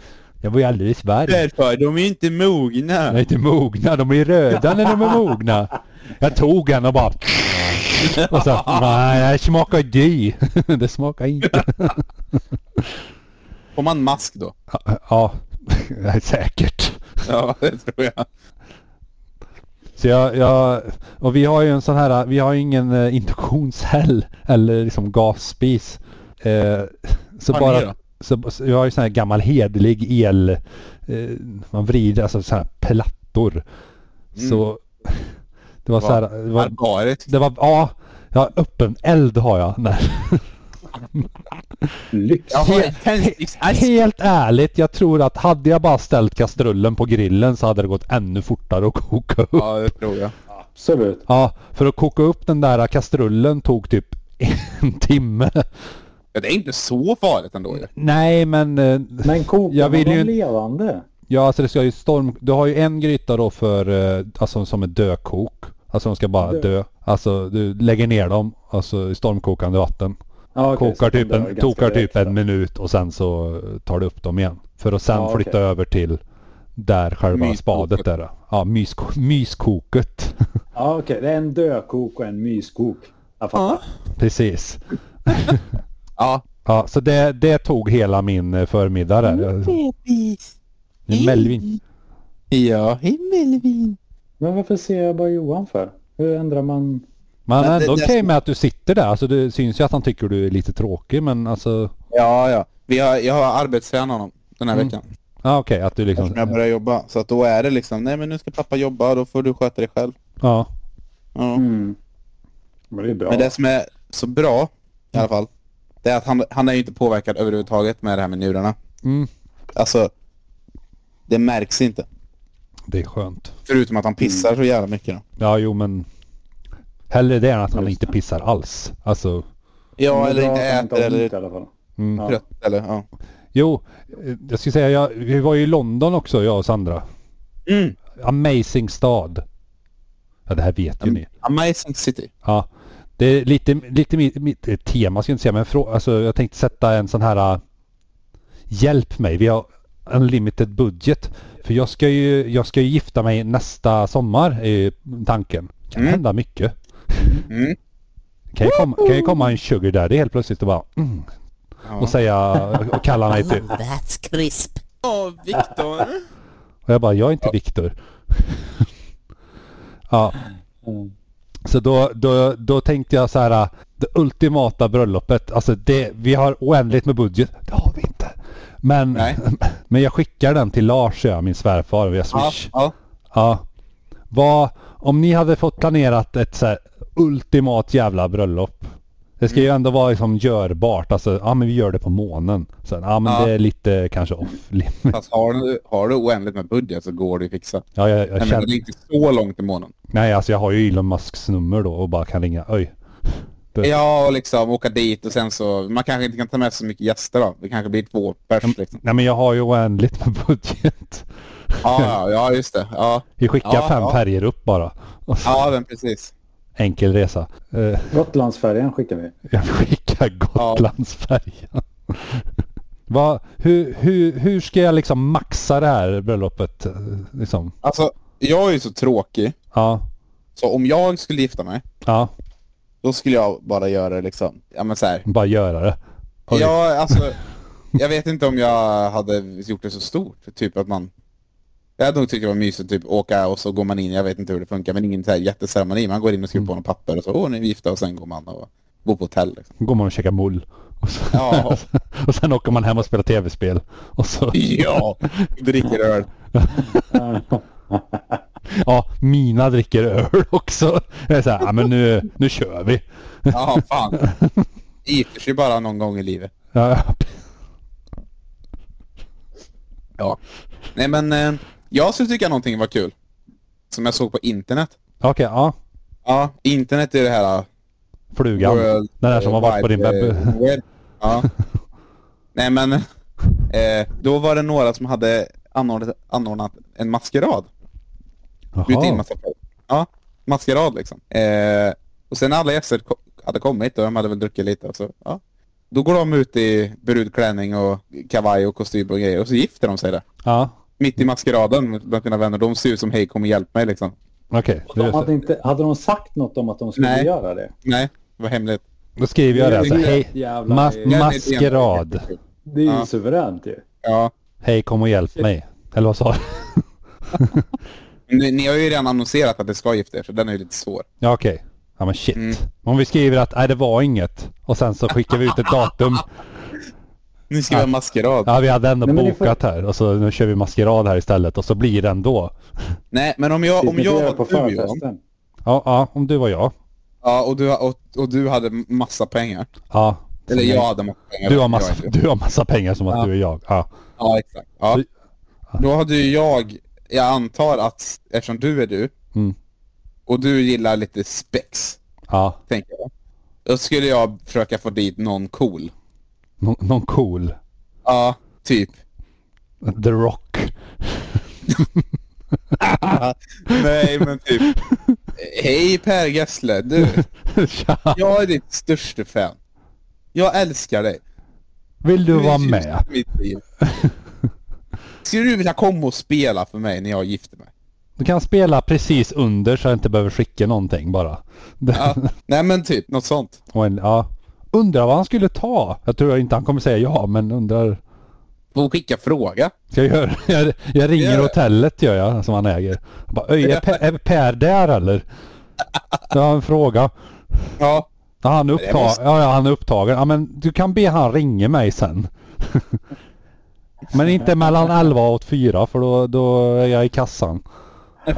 Den var ju alldeles varm.
Därför, de är ju inte mogna.
Den är inte mogna, de är röda när de är mogna. Jag tog den och bara... Och så, nej, det här smakar dy. Det smakar inte.
Får man mask då?
Ja, säkert.
Ja, det tror jag.
Så jag, jag, och vi har ju en sån här, vi har ju ingen eh, induktionshäll eller liksom gasspis. Eh, så
Har ni
bara,
då?
så, så jag har ju sån här gammal hederlig el, eh, man vrider, alltså sån här plattor.
Mm.
Så det var så här, det var,
Barbariskt.
det var ja, ja, öppen eld har jag. Nej.
Lyx.
Jag har en
Helt-
tändsticksask.
Helt ärligt, jag tror att hade jag bara ställt kastrullen på grillen så hade det gått ännu fortare att koka upp.
Ja, det tror jag.
Absolut.
Ja, för att koka upp den där kastrullen tog typ en timme.
Ja, det är inte så farligt ändå ju.
Nej, men... eh,
Men kokar
Jag
man
vill
dem
ju-
levande?
Ja, alltså det ska ju storm... Du har ju en gryta då för... eh, Alltså som är dökok. Alltså de ska bara
Dö.
dö. Alltså du lägger ner dem, alltså i stormkokande vatten.
Ja, okej, så
kokar
de
typ,
dör
en,
ganska
tokar
direkt
typ en
då.
minut och sen så eh, tar du upp dem igen. För att sen
Ja, okej.
flytta över till där själva
Myskoket.
spadet är. Ja, mysko- myskoket.
Ja, okej. Det är en dökok och en myskok. Jag fattar.
Precis.
Ja.
Ja, så det, det tog hela min eh, förmiddag där. Jag- En Melvin.
Ja, hej Melvin.
Men varför ser jag bara Johan för? Hur ändrar man?
Man
Men
är
det-
ändå
det-
okej med att du sitter där. Alltså det syns ju att han tycker du är lite tråkig men alltså...
Ja, ja. Vi har, jag har arbetstränat honom den här
Mm.
veckan.
Ja okej, att du
Eftersom jag
liksom...
börjar jobba. Så att då är det liksom, nej men nu ska pappa jobba, då får du sköta dig själv.
Ja.
Ja.
Mm. Men det är bra.
Men det som är så bra i alla fall, det är att han, han är ju inte påverkad överhuvudtaget med det här med njurarna.
Mm.
Alltså, det märks inte.
Det är skönt.
Förutom att han pissar så jävla mycket. Då.
Ja jo men... Hellre det än att han inte pissar alls. Alltså...
Ja,
Men det är
eller
bra
inte
att
äter
han har
eller
ont I alla fall.
Mm.
Ja.
trött eller ja.
Jo, eh, jag skulle säga jag, vi var ju i London också jag och Sandra.
Mm.
Amazing stad. Ja det här vet ju ni.
Amazing city.
Ja, det är lite, lite mitt, mitt eh, tema ska jag inte säga, men frå, alltså, jag tänkte sätta en sån här eh, Hjälp mig, vi har unlimited budget. För jag ska ju, jag ska ju gifta mig nästa sommar är tanken. kan
Mm.
hända mycket.
Mm.
Kan ju, komma, kan ju komma en sugar daddy helt plötsligt och bara mm,
Ja.
och säga och kalla mig till...
Oh, that's crisp.
Viktor.
Och jag bara, jag är inte Viktor. ja.
Mm.
Så då, då, då tänkte jag så här, det ultimata bröllopet, alltså det, vi har oändligt med budget. Det har vi inte. Men,
Nej.
men jag skickar den till Lars, ja, min svärfar, via
Ja,
Swish.
ja.
Ja. Vad, om ni hade fått planerat ett så här ultimat jävla bröllop. Det ska ju
Mm.
ändå vara liksom görbart. Alltså, ja men vi gör det på månen. Sen, ja men
Ja.
det är lite kanske off limit.
Fast har du, har du oändligt med budget så går det ju fixa.
Ja, jag, jag
Nej,
känner...
men det är inte så långt i månaden.
Nej, alltså jag har ju Elon Musks nummer då och bara kan ringa. Oj. Det-
Ja, och liksom åka dit och sen så... Man kanske inte kan ta med så mycket gäster då. Det kanske blir två pers liksom.
Nej men jag har ju oändligt med budget.
Ja, ja, ja just det. Ja,
Vi skickar
Ja,
fem
ja.
färger upp bara. Och så,
ja men precis.
enkel resa. Eh,
Gotlandsfärjan skickar vi.
Jag skickar Gotlandsfärjan. Va, hur, hur, hur ska jag liksom maxa det här bröllopet? eh, Liksom?
Alltså, jag är ju så tråkig.
Ja,
Så om jag skulle gifta mig,
ja,
då skulle jag bara göra liksom, ja men så här.
bara göra det. Har du-
Ja, alltså. Jag vet inte om jag hade gjort det så stort. Typ att man... Jag hade nog tyckt det var mysigt typ åka och så går man in, jag vet inte hur det funkar, men ingen så här jätteceremoni. Man går in och skriver på några papper och så, åh nu är vi gifta och sen går man och bor på hotell. Liksom.
går man och käkar mull. Och, så,
Ja.
och sen åker man hem och spelar tv-spel. Och så,
Ja, dricker öl.
ja, mina dricker öl också. Jag är så här, ja men nu, nu kör vi.
Ja, fan. Det Gifter sig bara någon gång i livet.
Ja,
Ja. Nej men, eh, jag skulle tycka någonting var kul. Som jag såg på internet.
Okej, ja.
Ja, internet är det här eh,
Flugan.
World,
Den där som har varit på din
Wide,
webb.
eh, Web. Ja. Nej men, eh, då var det några som hade anordnat, anordnat en maskerad. Bjudit in
Jaha.
massa folk. Ja, maskerad liksom. Eh, och sen när alla gäster ko- hade kommit och de hade väl druckit lite och så, ja. Då går de ut i brudklänning och kavaj och kostym och grejer och så gifter de sig där.
Ja,
Mitt i maskeraden med- med mina vänner. De ser ut som hej kom och hjälp mig liksom.
okej.
De
Just
hade,
det.
inte, hade de sagt något om att de skulle
Nej.
göra det?
Nej, det var hemligt.
Då skriver jag det. Alltså,
Det är ju
hej,
rätt jävla-
mas- maskerad.
Det är ju
Ja.
suveränt ju.
Ja.
Hej kom och hjälp mig. Eller vad sa du?
Ni, ni har ju redan annonserat att det ska gifta er, så den är ju lite svår.
Ja okej. Ja men shit.
Mm.
Om vi skriver att nej det var inget och sen så skickar vi ut ett datum.
Nu ska vi ha maskerad.
Ja vi hade ändå
Nej, men ni får-
bokat här och så nu kör vi maskerad här istället och så blir det ändå.
Nej, men om jag,
Fick
om
ni inte göra
jag
på
var du Johan,
förfesten?
Ja, ja om du var jag.
ja, och, du, och, och du hade massa pengar.
Ja.
Eller jag hade massa pengar.
Du har
Jag
massa,
inte.
du har massa pengar som att
Ja.
du är jag. Ja.
Ja, exakt. Ja.
Du-
Då hade ju jag, jag antar att eftersom du är du
Mm.
och du gillar lite spex,
ja.
tänker jag. Då skulle jag försöka få dit någon cool.
Nå- någon cool.
Ja, typ.
The Rock.
Nej, men typ. Hej Per Gessle, du.
Tja.
Jag är ditt största fan. Jag älskar dig.
Vill du
är
vara
ljuset
med?
i mitt liv. Skulle du vilja komma och spela för mig när jag gifter mig?
Du kan spela precis under så jag inte behöver skicka någonting bara.
Ja. Nej men typ, något sånt.
Och en, ja. Undrar vad han skulle ta. Jag tror inte han kommer säga ja, men undrar.
Och skicka fråga.
Ska jag göra Jag, jag ringer
Gör det.
hotellet gör jag, som han äger. Jag Bara, "Öj, är, per, är Per där eller? Jag har en fråga.
Ja.
Ja, han, är
det
uppta-
måste-
ja, ja, han är upptagen. Ja, men du kan be han ringa mig sen. men inte mellan 11 och 4 för då, då är jag i kassan.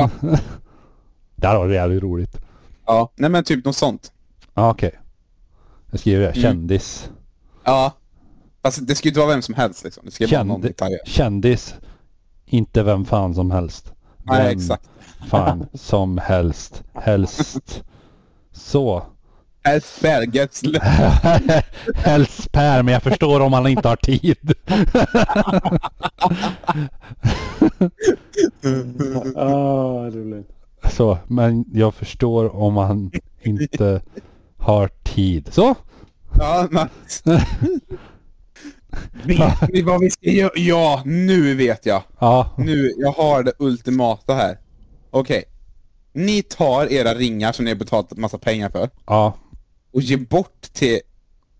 Där har det jävligt roligt.
ja. Nej men typ något sånt.
Ja, okej. Jag skriver det.
Mm.
Kändis.
Ja. Fast det ska ju inte vara vem som helst liksom. Det ska ju vara någon
Känd,
detalj.
kändis, inte vem fan som helst.
Nej,
Vem
exakt.
fan som helst. Helst. Så.
Helst Per Gessle.
helst Per, men jag förstår om han inte har tid.
Ah, vad roligt.
Så, men jag förstår om han inte har tid. Så.
Ja, men... Vet ni vad vi ska göra? Ja, nu vet jag.
Ja.
Nu, jag har det ultimata här. Okej. Ni tar era ringar som ni har betalat massa pengar för.
Ja.
och ge bort till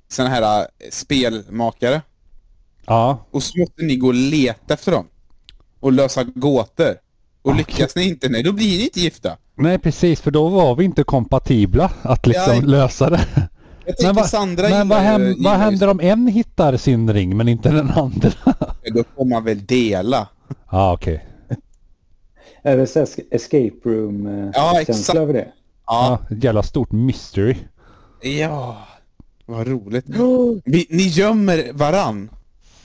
sådana här eh, spelmakare.
Ja.
Och så måste ni gå och leta efter dem. Och lösa gåtor. Och
Ah.
lyckas ni inte, nej då blir ni inte gifta.
Nej precis, för då var vi inte kompatibla att liksom
Ja,
lösa det.
Jag tänker
vad-
Sandra
men vad,
gillar ju-
häm-
gillar
vad
ju
händer om en hittar sin ring men inte den andra?
spel, Då får man väl dela.
Ja okej.
Är det så här sk- escape room-känsla
Ja, exakt.
över det?
Ja.
Ja, ett jävla stort mystery.
Ja. Vad roligt. Vi, ni gömmer varann.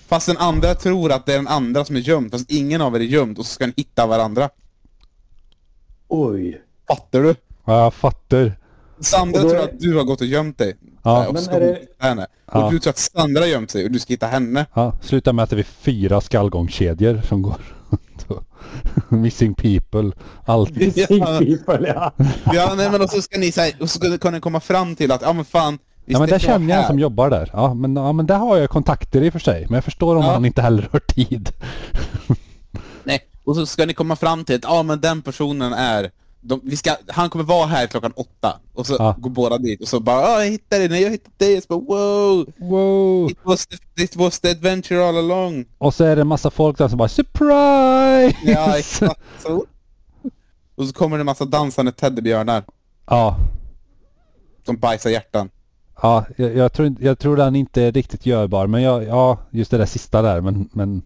Fast den andra tror att det är den andra som är gömd. Fast ingen av er är gömd och så ska ni hitta varandra.
Oj.
Fattar du?
Ja, jag fattar.
Sandra
Och då
tror
är-
att du har gått och gömt dig.
Ja.
Äh, Och
Men
ska
är det-
hitta henne.
Ja.
Och du tror att Sandra har gömt sig och du ska hitta henne.
Ja, sluta med att det är fyra skallgångskedjor som går. Ghost och Missing People. Allt.
Missing people, ja.
Ja, nej, men och så ska ni så här, och så ska- kan ni komma fram till att, ja men fan. vi
Ja men
ska
där
inte vara
känner jag en
här.
som jobbar där. Ja men, ja men där har jag kontakter i och för sig. Men jag förstår om
Ja.
han inte heller har tid.
Nej, och så ska ni komma fram till att, ja men den personen är... De, vi ska, han kommer vara här klockan åtta. Och så
Ja.
går båda dit och så bara, ja jag hittade dig, nej, jag hittade dig. Och så bara, wow!
Wow!
It was, the, it was the adventure all along.
Och så är det en massa folk där som bara surprise!
Ja, exakt så. Och så kommer det en massa dansande teddybjörnar
ja,
som bajsar hjärtan.
ja jag, jag, tror, inte- jag tror den inte är riktigt görbar. Men jag, ja, just det där sista där. Men, men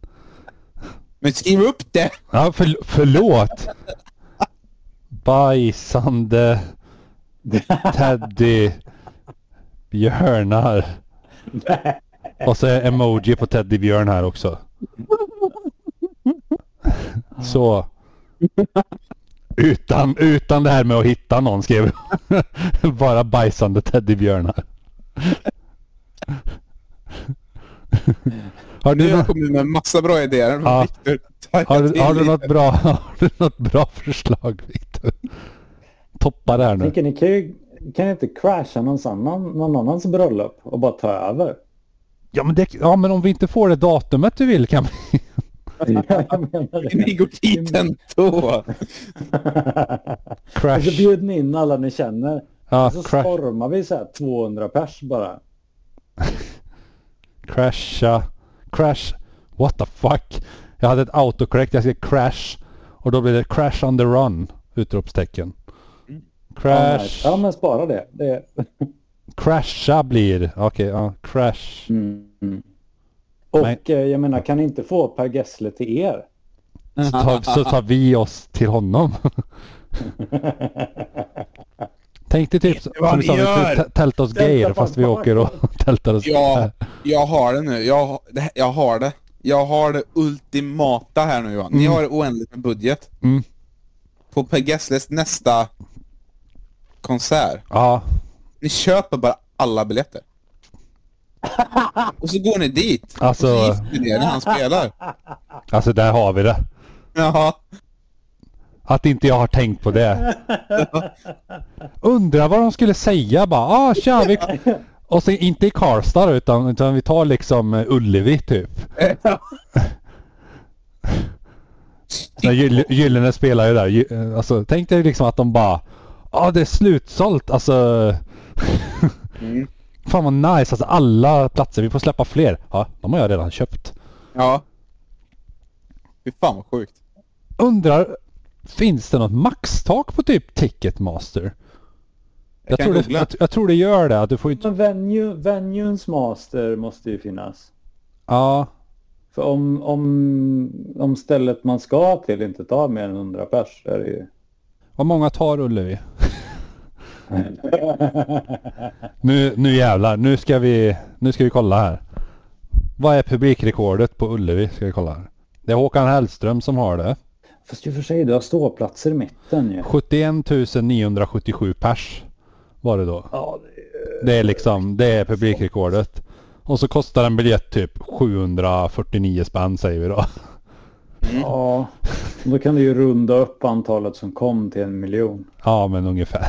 Men skriv upp det!
ja, för, förlåt! Bajsande Teddy björnar. Och så är emoji på teddybjörn här också. Så. Utan, utan det här med att hitta någon skrev jag. Bara bajsande teddybjörnar. Har
Nu
du,
har
nå-
jag kommit med massa bra idéer.
Ja.
Victor, ta
har,
till
du- har, du
dig.
något bra, har du något bra förslag Victor? Toppa det här nu.
Tänker ni kan ju kan ni inte crasha någon annan, någon annans bröllop och bara ta över?
Ja men, det, ja men om vi inte får det datumet du vill kan vi...
Jag menar
Ni
det.
går dit ändå!
Och så
Crash.
bjöd ni in alla ni känner.
Ja,
Och så
crash.
stormar vi så här 200 pers bara.
Crasha. Crash. What the fuck? Jag hade ett autocorrect. Jag skrev crash. Och då blev det crash on the run. Utropstecken.
Ja,
Crash.
nej. Ja, men spara det. det
Crasha blir. Okej, ja. Crash.
mm. mm. Och
Nej.
eh, jag menar, kan ni inte få Per Gessle till er?
Så tar, så tar vi oss till honom. Tänk dig typ som
vad
vi
ni
sa, vi
gör?
skulle tä- tälta oss
Tälta
gayer
på
fast vi
en
åker och tältar oss.
Ja, jag har det nu. Jag, har- det här- jag har det. Jag har det ultimata här nu Johan. Ni har oändligt med budget.
Mm.
På Per Gessles nästa konsert.
Ja.
Ni köper bara alla biljetter. Och så går ni dit.
Alltså-
Och så gifter ni er när han spelar.
Alltså där har vi det.
Jaha.
Att inte jag har tänkt på det. Undrar vad de skulle säga bara. Ah, tja, vi... Och så inte i Karlstad då, utan, utan vi tar liksom eh, Ullevi typ. Så Gyll- Gyllene spelar ju där. Gy- eh, Alltså, tänk dig liksom att de bara. Ja ah, det är slutsålt alltså.
Mm.
Fan vad nice. Alltså alla platser. Vi får släppa fler. Ja, de har jag redan köpt.
Ja. Fy fan vad sjukt.
Undrar. Finns det något maxtak på typ Ticketmaster? Jag,
kan
tror det,
googla.
jag, jag tror det gör det. Att du får ju...
Men venue, venues master måste ju finnas.
Ja.
För om, om, om stället man ska till inte tar mer än 100 pers så är det ju...
Vad många tar Ullevi? Nu, nu jävlar. Nu ska, vi, nu ska vi kolla här. Vad är publikrekordet på Ullevi? Ska vi kolla här. Det är Håkan Hellström som har det.
Fast i och för sig, du har ståplatser i mitten ju.
71 977 pers var det då.
Ja,
Det är liksom, det är publikrekordet. Och så kostar en biljett typ 749 spänn säger vi då.
Ja, då kan du ju runda upp antalet som kom till en miljon.
Ja men ungefär.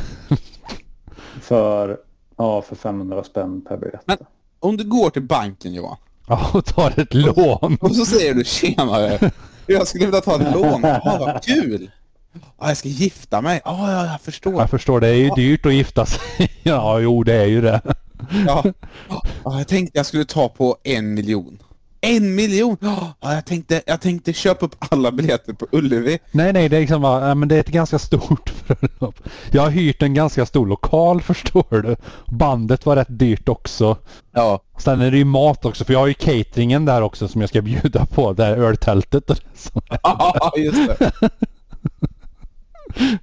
För, ja, för 500 spänn per biljett.
Men om du går till banken Johan.
Ja och tar ett lån.
Och så säger du tjenare. Jag skulle vilja ta ett lån. Ja, vad kul. Ja, jag ska gifta mig. Ja, ja, jag förstår.
Jag förstår, det är ju dyrt att gifta sig. Ja jo det är ju det.
Ja. Ja, jag tänkte jag skulle ta på en miljon. En miljon? Ja, jag tänkte, jag tänkte köpa upp alla biljetter på Ullevi.
Nej nej det är liksom bara, ja, men det är ett ganska stort bröllop. Jag har hyrt en ganska stor lokal förstår du. Bandet var rätt dyrt också.
Ja.
Sen är det ju mat också för jag har ju cateringen där också som jag ska bjuda på. Det här öltältet och det som är.
Ja, just det.
Ja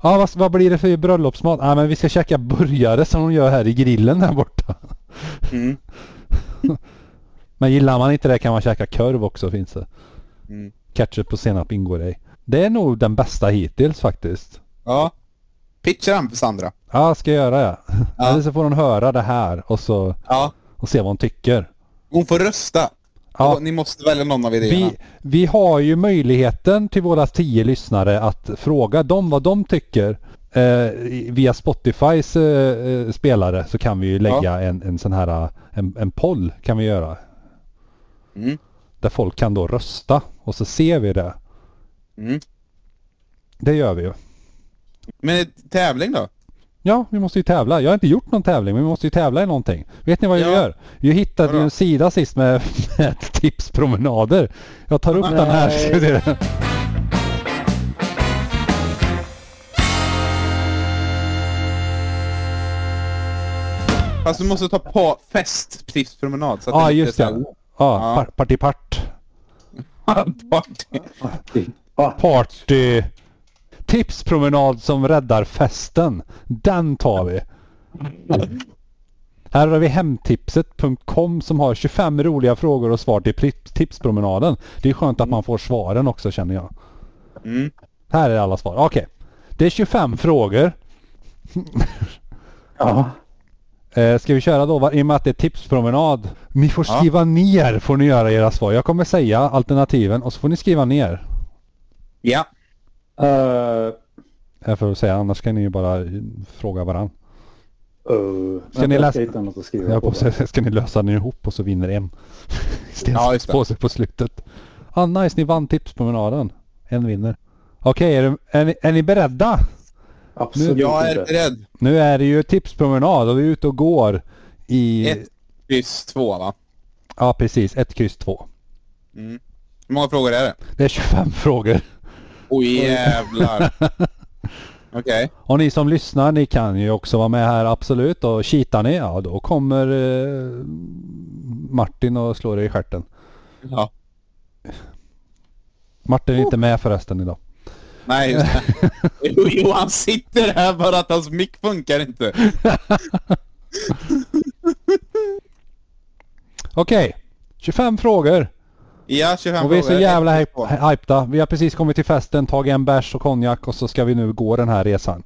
vad, vad blir det för bröllopsmat? Ja men vi ska käka burgare som de gör här i grillen där borta.
Mm.
Men gillar man inte det kan man käka korv också finns det.
Mm.
Ketchup och senap ingår ej. Det är nog den bästa hittills faktiskt.
Ja. Pitchar han för Sandra.
Ja, ska jag göra det?
Ja.
Eller så får hon höra det här och så
Ja.
och se vad hon tycker.
Hon får rösta.
Ja.
Ni måste välja någon av idéerna.
Vi, vi har ju möjligheten till våra tio lyssnare att fråga dem vad de tycker. Eh, i- via Spotifys eh, eh, spelare så kan vi ju lägga
Ja.
en, en sån här, eh, en, en poll kan vi göra.
Mm.
Där folk kan då rösta och så ser vi det.
Mm.
Det gör vi ju.
Men tävling då?
Ja, vi måste ju tävla. Jag har inte gjort någon tävling, men vi måste ju tävla i någonting. Vet ni vad jag
Ja.
gör? Jag hittade ju
Vadå?
en sida sist med, med tipspromenader. Jag tar upp den här.
Nej.
Ska vi se det?
Fast Alltså, du måste ta på fest precis promenad. Så att
Ja,
det inte är
Ah, just
så
det.
här-
Ja,
Ja.
par, partipart.
Party.
Ja,
Party. Tipspromenad som räddar festen. Den tar vi. Här har vi hemtipset.com som har 25 roliga frågor och svar till pri- tipspromenaden. Det är skönt att man får svaren också känner jag.
Mm.
Här är alla svar. Okej. Det är 25 frågor.
ja.
Eh, ska vi köra då? va? I och med att det är tipspromenad. Ni får
Ja.
skriva ner får ni göra era svar. Jag kommer säga alternativen och så får ni skriva ner.
Ja.
Eh,
Här får jag säga annars kan ni ju bara eh, fråga varann.
eh,
Ska
vänta,
ni
jag
läsa-
Ska hitta något att skriva
Jag
på.
på, så ska ni lösa den ihop och så vinner en.
Ja, just det.
Stenspåse på slutet. Ah, nice, ni vann tipspromenaden. En vinner. Okej, är, det- är, ni- är ni beredda?
Absolut
Jag är
inte.
beredd.
Nu är det ju tipspromenad och vi är ute och går i...
Ett, kryss, två va?
Ja, precis. Ett kryss två.
Hur många frågor är det?
Det är 25 frågor.
Oj jävlar. Okej.
Och ni som lyssnar, ni kan ju också vara med här absolut. Och kitar ni, ja då kommer eh, Martin och slår er i stjärten.
Ja.
Martin är
Oh.
inte med förresten idag.
Nej, just det. Jo, jo, han sitter här bara att hans mick funkar inte.
Okej, 25 frågor.
Ja, 25
Och vi är så
frågor.
jävla
Ett, två.
hy- hypta. Vi har precis kommit till festen, tagit en bärs och konjak och så ska vi nu gå den här resan.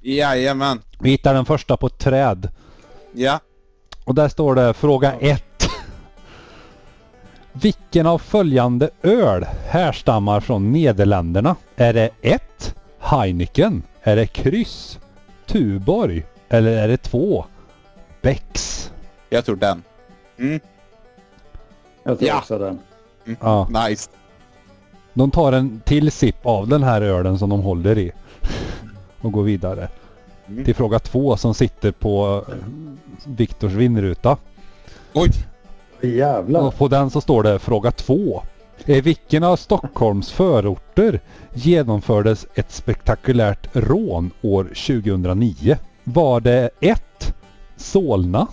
Jajamän.
Vi hittar den första på ett träd.
Ja.
Och där står det fråga 1. Vilken av följande öl härstammar från Nederländerna? Är det 1. Heineken? Är det kryss? Tuborg? Eller är det 2. Becks?
Jag tror den.
Jag tror
Ja.
också den.
Ja,
Nice.
de tar en till sipp av den här ölen som de håller i. Och går vidare.
Mm.
Till fråga 2 som sitter på eh, Viktors vindruta.
Oj.
Jävlar.
Och på den så står det fråga två. I vilken av Stockholms förorter genomfördes ett spektakulärt rån år 2009? Var det 1. Solna?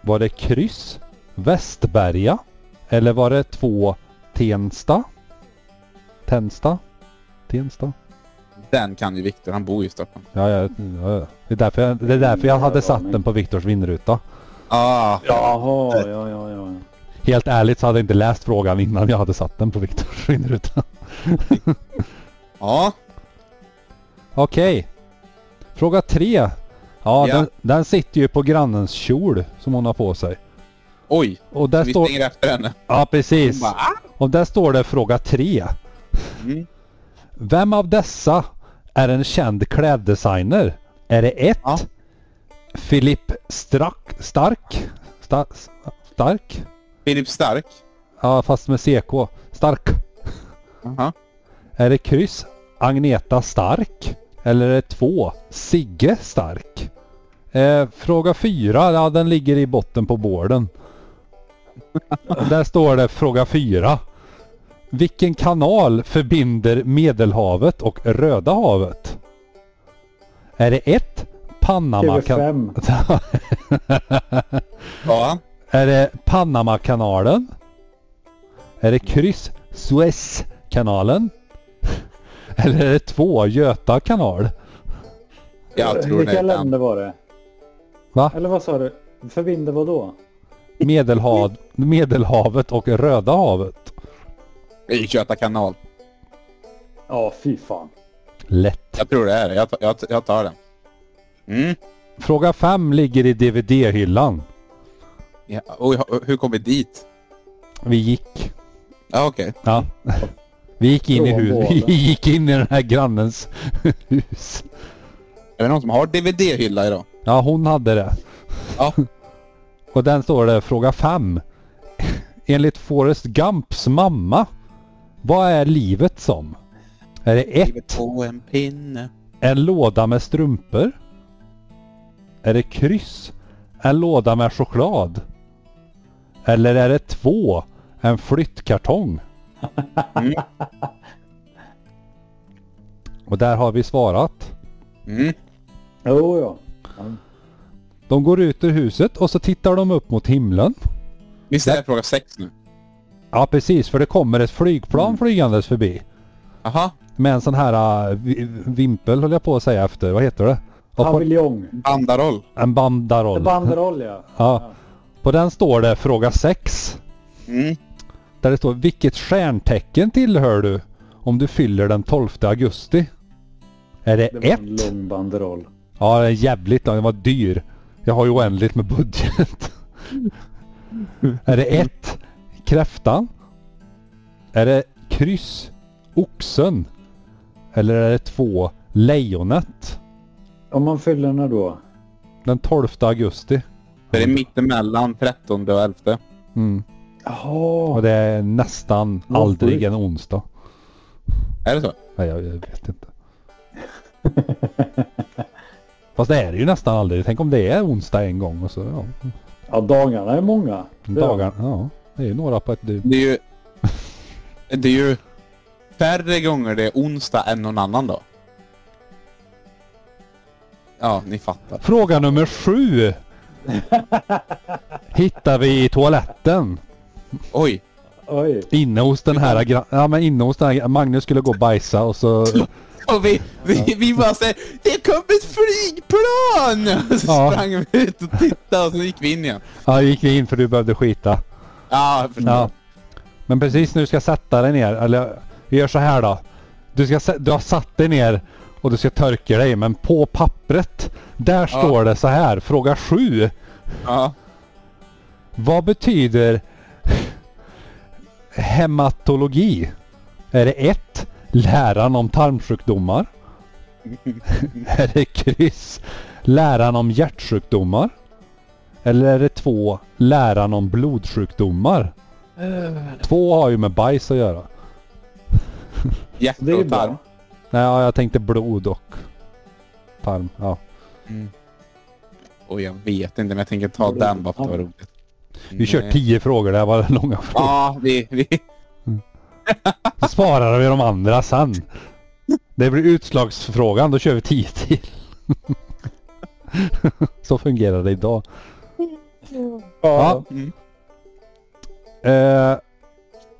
Var det kryss? Västberga? Eller var det 2. Tensta? Tensta? Tensta?
Den kan ju Viktor. Han bor ju i Stockholm.
Ja, ja, ja, ja. Det, är därför jag, det är därför jag hade satt den på Viktors vindruta.
Ah.
Jaha, ja, ja, ja.
Helt ärligt så hade jag inte läst frågan innan jag hade satt den på Viktors vindruta.
Ja.
Okej. Fråga tre. Ja,
Ja.
Den, den sitter ju på grannens kjol som hon har på sig.
Oj.
Och där
Vi
står...
stänger efter henne.
Ja, precis.
Bara, ah.
Och där står det fråga tre.
Mm.
Vem av dessa är en känd kläddesigner? Är det ett?
Ja.
Filip Strack... Stark? Sta, stark?
Filip Stark.
Ja, fast med CK. Stark.
Aha.
Är det kryss Agneta Stark? Eller är det två Sigge Stark? Eh, fråga fyra, ja den ligger i botten på borden. Där står det fråga fyra. Vilken kanal förbinder Medelhavet och Röda havet? Är det ett Panamakanalen?
TV5.
Ja.
är det Panamakanalen? Är det kryss Suezkanalen? Eller är det två Göta kanal?
Jag tror det
Vilka
är den.
länder var det?
Va?
Eller vad sa du? Förbinder vad då?
Medelhav, Medelhavet och Röda havet.
I Göta kanal.
Ja, fy fan.
Lätt.
Jag tror det är det. Jag, tar- jag, tar- jag tar den. Mm.
Fråga 5 ligger i DVD-hyllan.
Ja. Oj, hur kom vi dit?
Vi gick.
Ja, okej.
Ja. Vi gick in i
Från
hus.
båda.
Vi gick in i den här grannens hus.
Är det någon som har DVD-hylla idag?
Ja, hon hade det.
Ja.
Och den står det, fråga 5. Enligt Forrest Gumps mamma, vad är livet som? Är det
Livet
1.
på en pinne.
En låda med strumpor? Är det kryss? En låda med choklad? Eller är det 2. En flyttkartong?
Mm.
Och där har vi svarat.
Mm.
Jo, ja.
De går ut ur huset och så tittar de upp mot himlen.
Visst är det fråga sex nu?
Ja precis, för det kommer ett flygplan
Mm.
flygandes förbi.
Aha.
Med en sån här äh, vi- vimpel höll jag på att säga efter, vad heter det? Och på,
Paviljong.
Bandaroll.
en bandaroll.
Banderoll, ja.
ja. På den står det fråga 6.
Mm.
Där det står vilket stjärntecken tillhör du om du fyller den 12 augusti? Är det,
Det var en
1?
lång banderoll.
Ja, det är jävligt lång. Den var dyr. Jag har ju oändligt med budget. är det 1? Kräftan? Är det kryss? Oxen? Eller är det 2? Lejonet?
Om man fyller den då.
Den 12 augusti.
Det är mittemellan 13 och 11.
Mm. Och
Jaha.
det är nästan
Vad
aldrig
sjukt.
en onsdag.
Är det så?
Nej, jag, jag vet inte. Fast det är det ju nästan aldrig. Tänk om det är onsdag en gång och så ja.
Ja, dagarna är många. Det är-
Dagar, ja. Det är ju några på ett dygn.
Det är ju... Det är ju färre gånger det är onsdag än någon annan dag. Ja, ni fattar.
Fråga nummer sju. Hittar vi i toaletten.
Oj!
Oj.
Inne hos den här gran- Ja men inne hos den här Magnus skulle gå och bajsa och så...
Och vi, vi, vi bara säger Det kom ett flygplan! Och så
Ja.
sprang vi ut och tittade och så gick vi in igen.
Ja gick vi in för du behövde skita.
Ja, jag förstår.
Ja. Men precis när du ska sätta dig ner, eller vi gör så här då. Du, ska, sä- du har satt dig ner och du ska törka dig, men på pappret, där står det så här, fråga 7.
Ja.
Vad betyder hematologi? Är det 1. Läran om tarmsjukdomar? är det kryss? Läran om hjärtsjukdomar? Eller är det 2. Läran om blodsjukdomar? Två har ju med bajs att göra.
Hjärta
Det är ju
och tarm.
bra.
Nej, ja, jag tänkte blod och tarm. Ja.
Och jag vet inte, men jag tänker ta den bara för att det var roligt.
Vi kör
Nej.
tio frågor, det här var långa frågor.
Ja, vi... vi
Så svarar vi de andra sen. Det blir utslagsfrågan, då kör vi tio till. Så fungerar det idag. Ja.
Mm.
Eh,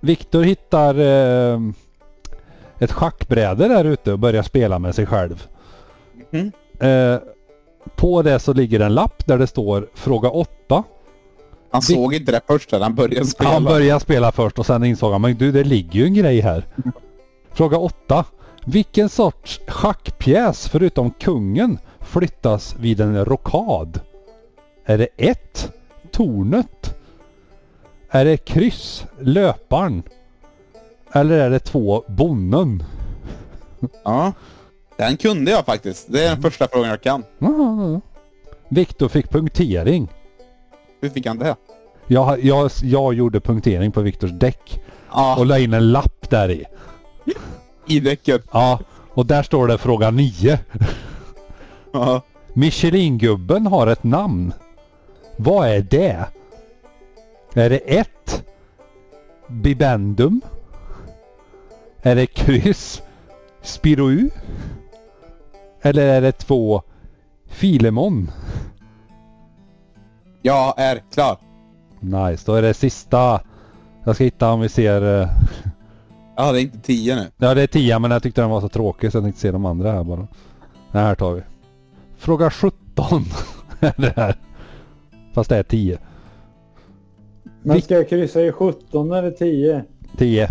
Viktor hittar eh, ett schackbräde där ute och börjar spela med sig själv.
Mhm.
Eh, på det så ligger en lapp där det står fråga 8.
han såg inte det första när han började spela.
Han började spela först och sen insåg han, men du det ligger ju en grej här. Fråga 8. Vilken sorts schackpjäs förutom kungen flyttas vid en rokad? Är det 1. Tornet? Är det kryss? Löparen? Eller är det 2. Bonnen?
Ja. Den kunde jag faktiskt. Det är den första frågan jag kan.
Mm. Viktor fick punktering.
Hur fick han det?
Jag, jag, jag gjorde punktering på Viktors däck
Ja,
och la in en lapp där i.
i däcket.
Ja, och där står det fråga 9.
Ja.
Michelingubben har ett namn. Vad är det? Är det 1. Bibendum? Är det kryss? Spirou? Eller är det 2. Filemon?
Jag är klar.
Nice, då är det sista. Jag ska hitta om vi ser... eh,
Ja, det är inte tio nu.
Ja, det är 10 men jag tyckte den var så tråkig så jag tänkte se de andra här bara. Den här tar vi. Fråga 17 är det här. Fast det är 10.
Men ska jag kryssa i 17 eller 10?
10.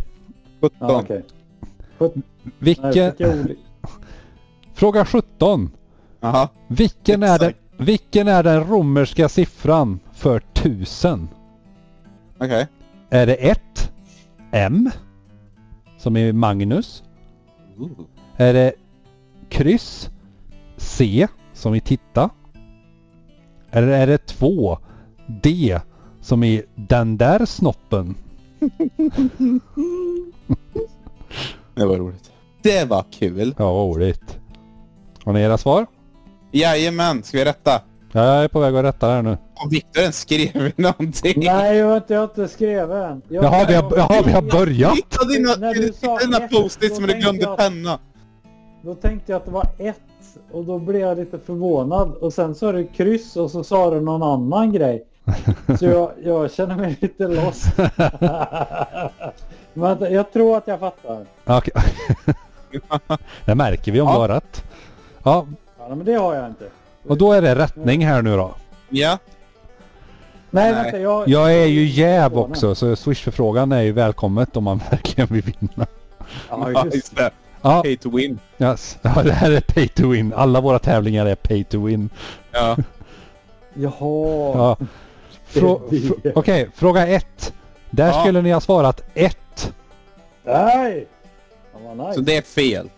17.
Ja, okej. Nej,
Vilken...
jag fick oli-
Fråga 17.
Jaha.
Vilken är, den,
Exakt.
vilken är den romerska siffran för 1000?
Okej.
Är Är det ett M? Som är Magnus. Är det kryss C som i titta? Eller är det två D som i den där snoppen?
Det var roligt. Det var kul.
Ja, vad roligt. Har ni era svar?
Jajamän, ska vi rätta?
Ja, jag är på väg att rätta det här nu.
Om Viktor ens skrev någonting.
Nej, jag har inte, jag har inte skrivit än. Jag-
Jaha, vi har, jaha, vi har börjat!
Hitta dina,
När du sa
hitta dina
ett,
post-its
då
men du
tänkte
glömde
jag-
penna.
Då tänkte jag att det var ett och då blev jag lite förvånad och sen sa du kryss och så sa du någon annan grej. Så jag, jag känner mig lite lost. Men jag tror att jag fattar.
Okej. det märker vi om
Ja.
du har rätt. Ja,
Ja, men det har jag inte.
och då är det rättning här nu då.
Ja.
Nej,
Nej.
vänta. Jag,
Jag är ju jäv också så swishförfrågan är ju välkommet om man verkligen vill vinna.
Ja,
Ja,
just.
just det.
Ja,
Pay to win.
yes. ja, det här är pay to win. Alla våra tävlingar är pay to win.
Ja.
Jaha.
Ja. Frå-
Det är det.
fr- Okej, fråga ett. Där
Ja.
skulle ni ha svarat ett.
Nej! Ja, vad nice.
Så det är fel.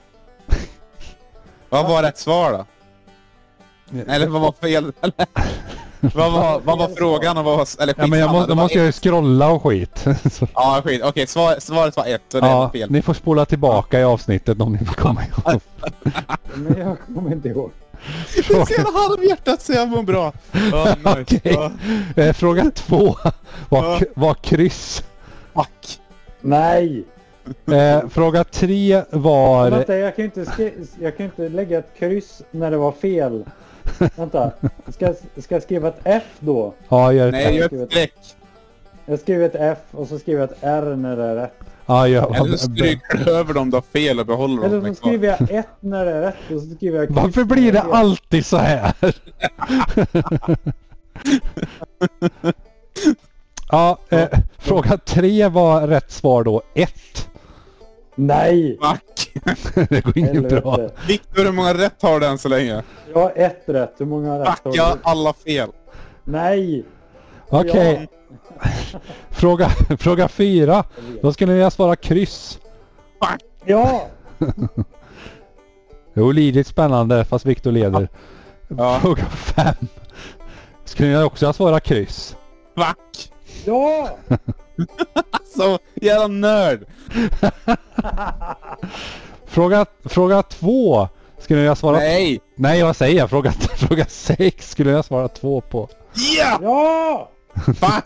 Vad var rätt svar då? Eller vad var fel? Eller? vad, var, vad var frågan och vad var... Eller
Ja, men jag
skitsamma,
må,
det
då
var
måste jag ju scrolla och skit. Så,
Ja, skit. Okej, svar, svaret var ett och det var
ja,
fel.
ni får spola tillbaka i avsnittet om ni vill komma ihåg.
Men jag kommer inte ihåg.
Det är så jävla halvhjärtat så jag mår bra. Ja, nice.
Okej.
Ja,
Eh, Fråga två var,
Ja.
k- var kryss.
fuck.
Nej!
Eh, fråga tre var...
Vänta, jag kan ju inte, skri- jag kan ju inte lägga ett kryss när det var fel. Vänta, ska, ska jag skriva ett F då?
Ja, gör
Nej,
ett...
gör ett streck.
Jag skriver ett F och så skriver jag ett R när det är rätt.
Ja, gör...
Eller så stryker du över dem du har fel och behåller
Eller
dem. liksom.
så skriver jag ett när det är rätt och så skriver jag kryss
Varför
när
blir det
är fel.
alltid så här? ja, eh, fråga tre var rätt svar då. Ett.
Nej!
Fuck.
Det går inget
Helvete.
bra.
Viktor, hur många rätt har du än så länge?
Jag har ett rätt, hur många rätt
Fuck,
har
jag har
du?
alla fel.
Nej!
Okej. Fråga, fråga fyra. Då skulle jag svara kryss.
Ja!
Det är olidligt spännande fast Viktor leder.
Ja.
Fråga fem. Skulle jag också svara kryss?
Fuck.
Ja!
Så jävla nörd.
Fråga, fråga två. Skulle jag svara...
Nej.
Nej, vad säger jag? Fråga, fråga sex skulle jag svara två på.
Ja!
Ja!
Fuck.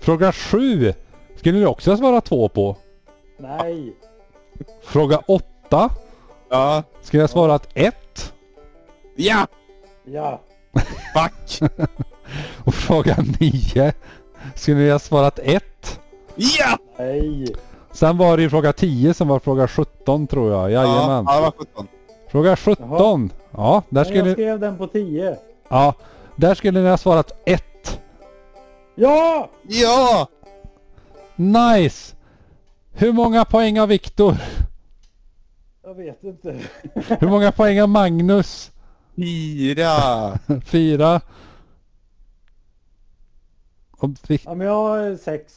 Fråga sju skulle du också svara två på.
Nej!
Fråga åtta
Ja.
skulle jag svara att ett.
Ja!
Ja!
Fuck!
Och fråga nio skulle jag svara att ett.
Ja!
Nej!
Sen var det ju fråga 10 som var fråga 17 tror jag.
Ja,
Jajamän.
ja, det var 17.
Fråga 17. Ja, där
Men jag
skulle,
skrev den på 10.
ja, där skulle ni ha svarat ett.
Ja!
Ja!
Nice! Hur många poäng har Viktor?
Jag vet inte.
Hur många poäng har Magnus?
Fyra!
Fyra. Och Vik-
Ja, men jag har sex.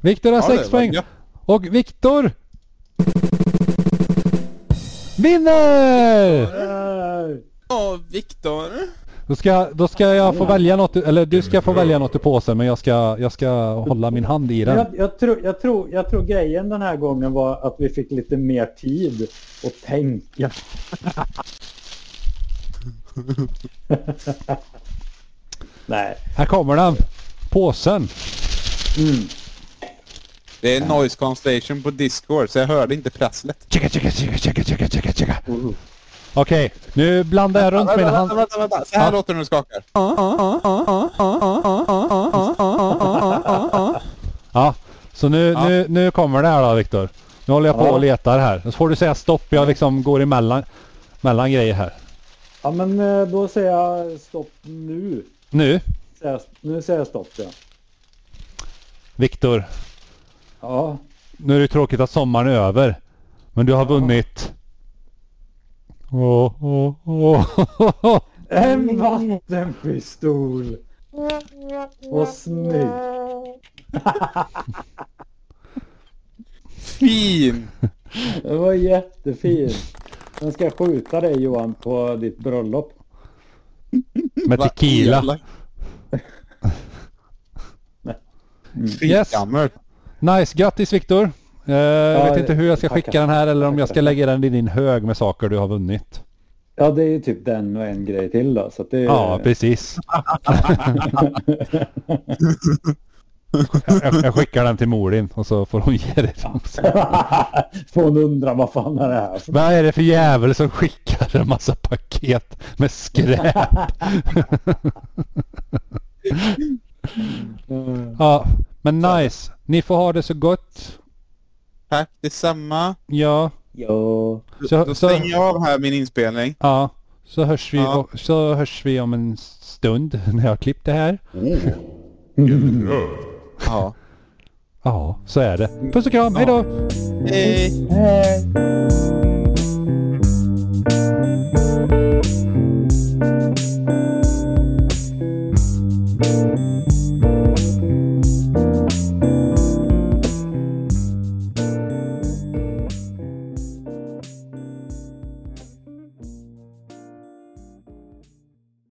Viktor har
Ja, det
sex
var
poäng.
gött.
Och Viktor vinner!
Äh,
Ja, Viktor.
Då ska, då ska jag få välja något, eller du ska få välja något i påsen men jag ska, jag ska hålla min hand i den.
Jag, jag, tror, jag, tror, jag tror grejen den här gången var att vi fick lite mer tid att tänka. Nej.
Här kommer den! Påsen!
Mm.
Det är noise cancellation på Discord, så jag hörde inte prasslet.
Checka, checka, checka, checka, checka, checka, checka. Okej, nu blandar jag runt min hand.
vänta. Så här
Ja.
låter det när du skakar.
Ja, så nu, nu, nu kommer det här då Viktor. Nu håller jag på
Ja.
och letar här. Så får du säga stopp, jag liksom går emellan mellan grejer här.
Ja, men eh, då säger jag stopp nu.
Nu,
Säger jag- Nu säger jag stopp, ja.
Viktor.
Ja,
Nu är det tråkigt att sommaren är över. Men du har vunnit... Åh, åh, åh.
En vattenpistol! Och snygg.
Fin!
Det var jättefint. Den ska skjuta dig Johan på ditt bröllop.
Med
Vad
tequila.
elakt.
Yes.
Gammalt.
Nice, grattis Viktor. Eh, jag vet
det-
inte hur jag ska
tackar.
skicka den här eller om jag ska
Tackar.
lägga den i din hög med saker du har vunnit.
Ja, det är ju typ den och en grej till då. Så att det är...
Ja, precis. jag, jag skickar den till Morin och så får hon ge dig.
Får hon undra vad fan är det här för
Vad är det för jävel som skickar en massa paket med skräp? ja, men nice. Ni får ha det så gott.
Tack detsamma.
Ja,
Ja.
Så-
Då
så-
stänger jag av här min inspelning.
ja. Så hörs, vi,
Ja.
så hörs vi om en stund när jag har klippt det här.
En röd.
Ja.
Ja, så är det. Puss och kram, hej då!
Hej!
Hej.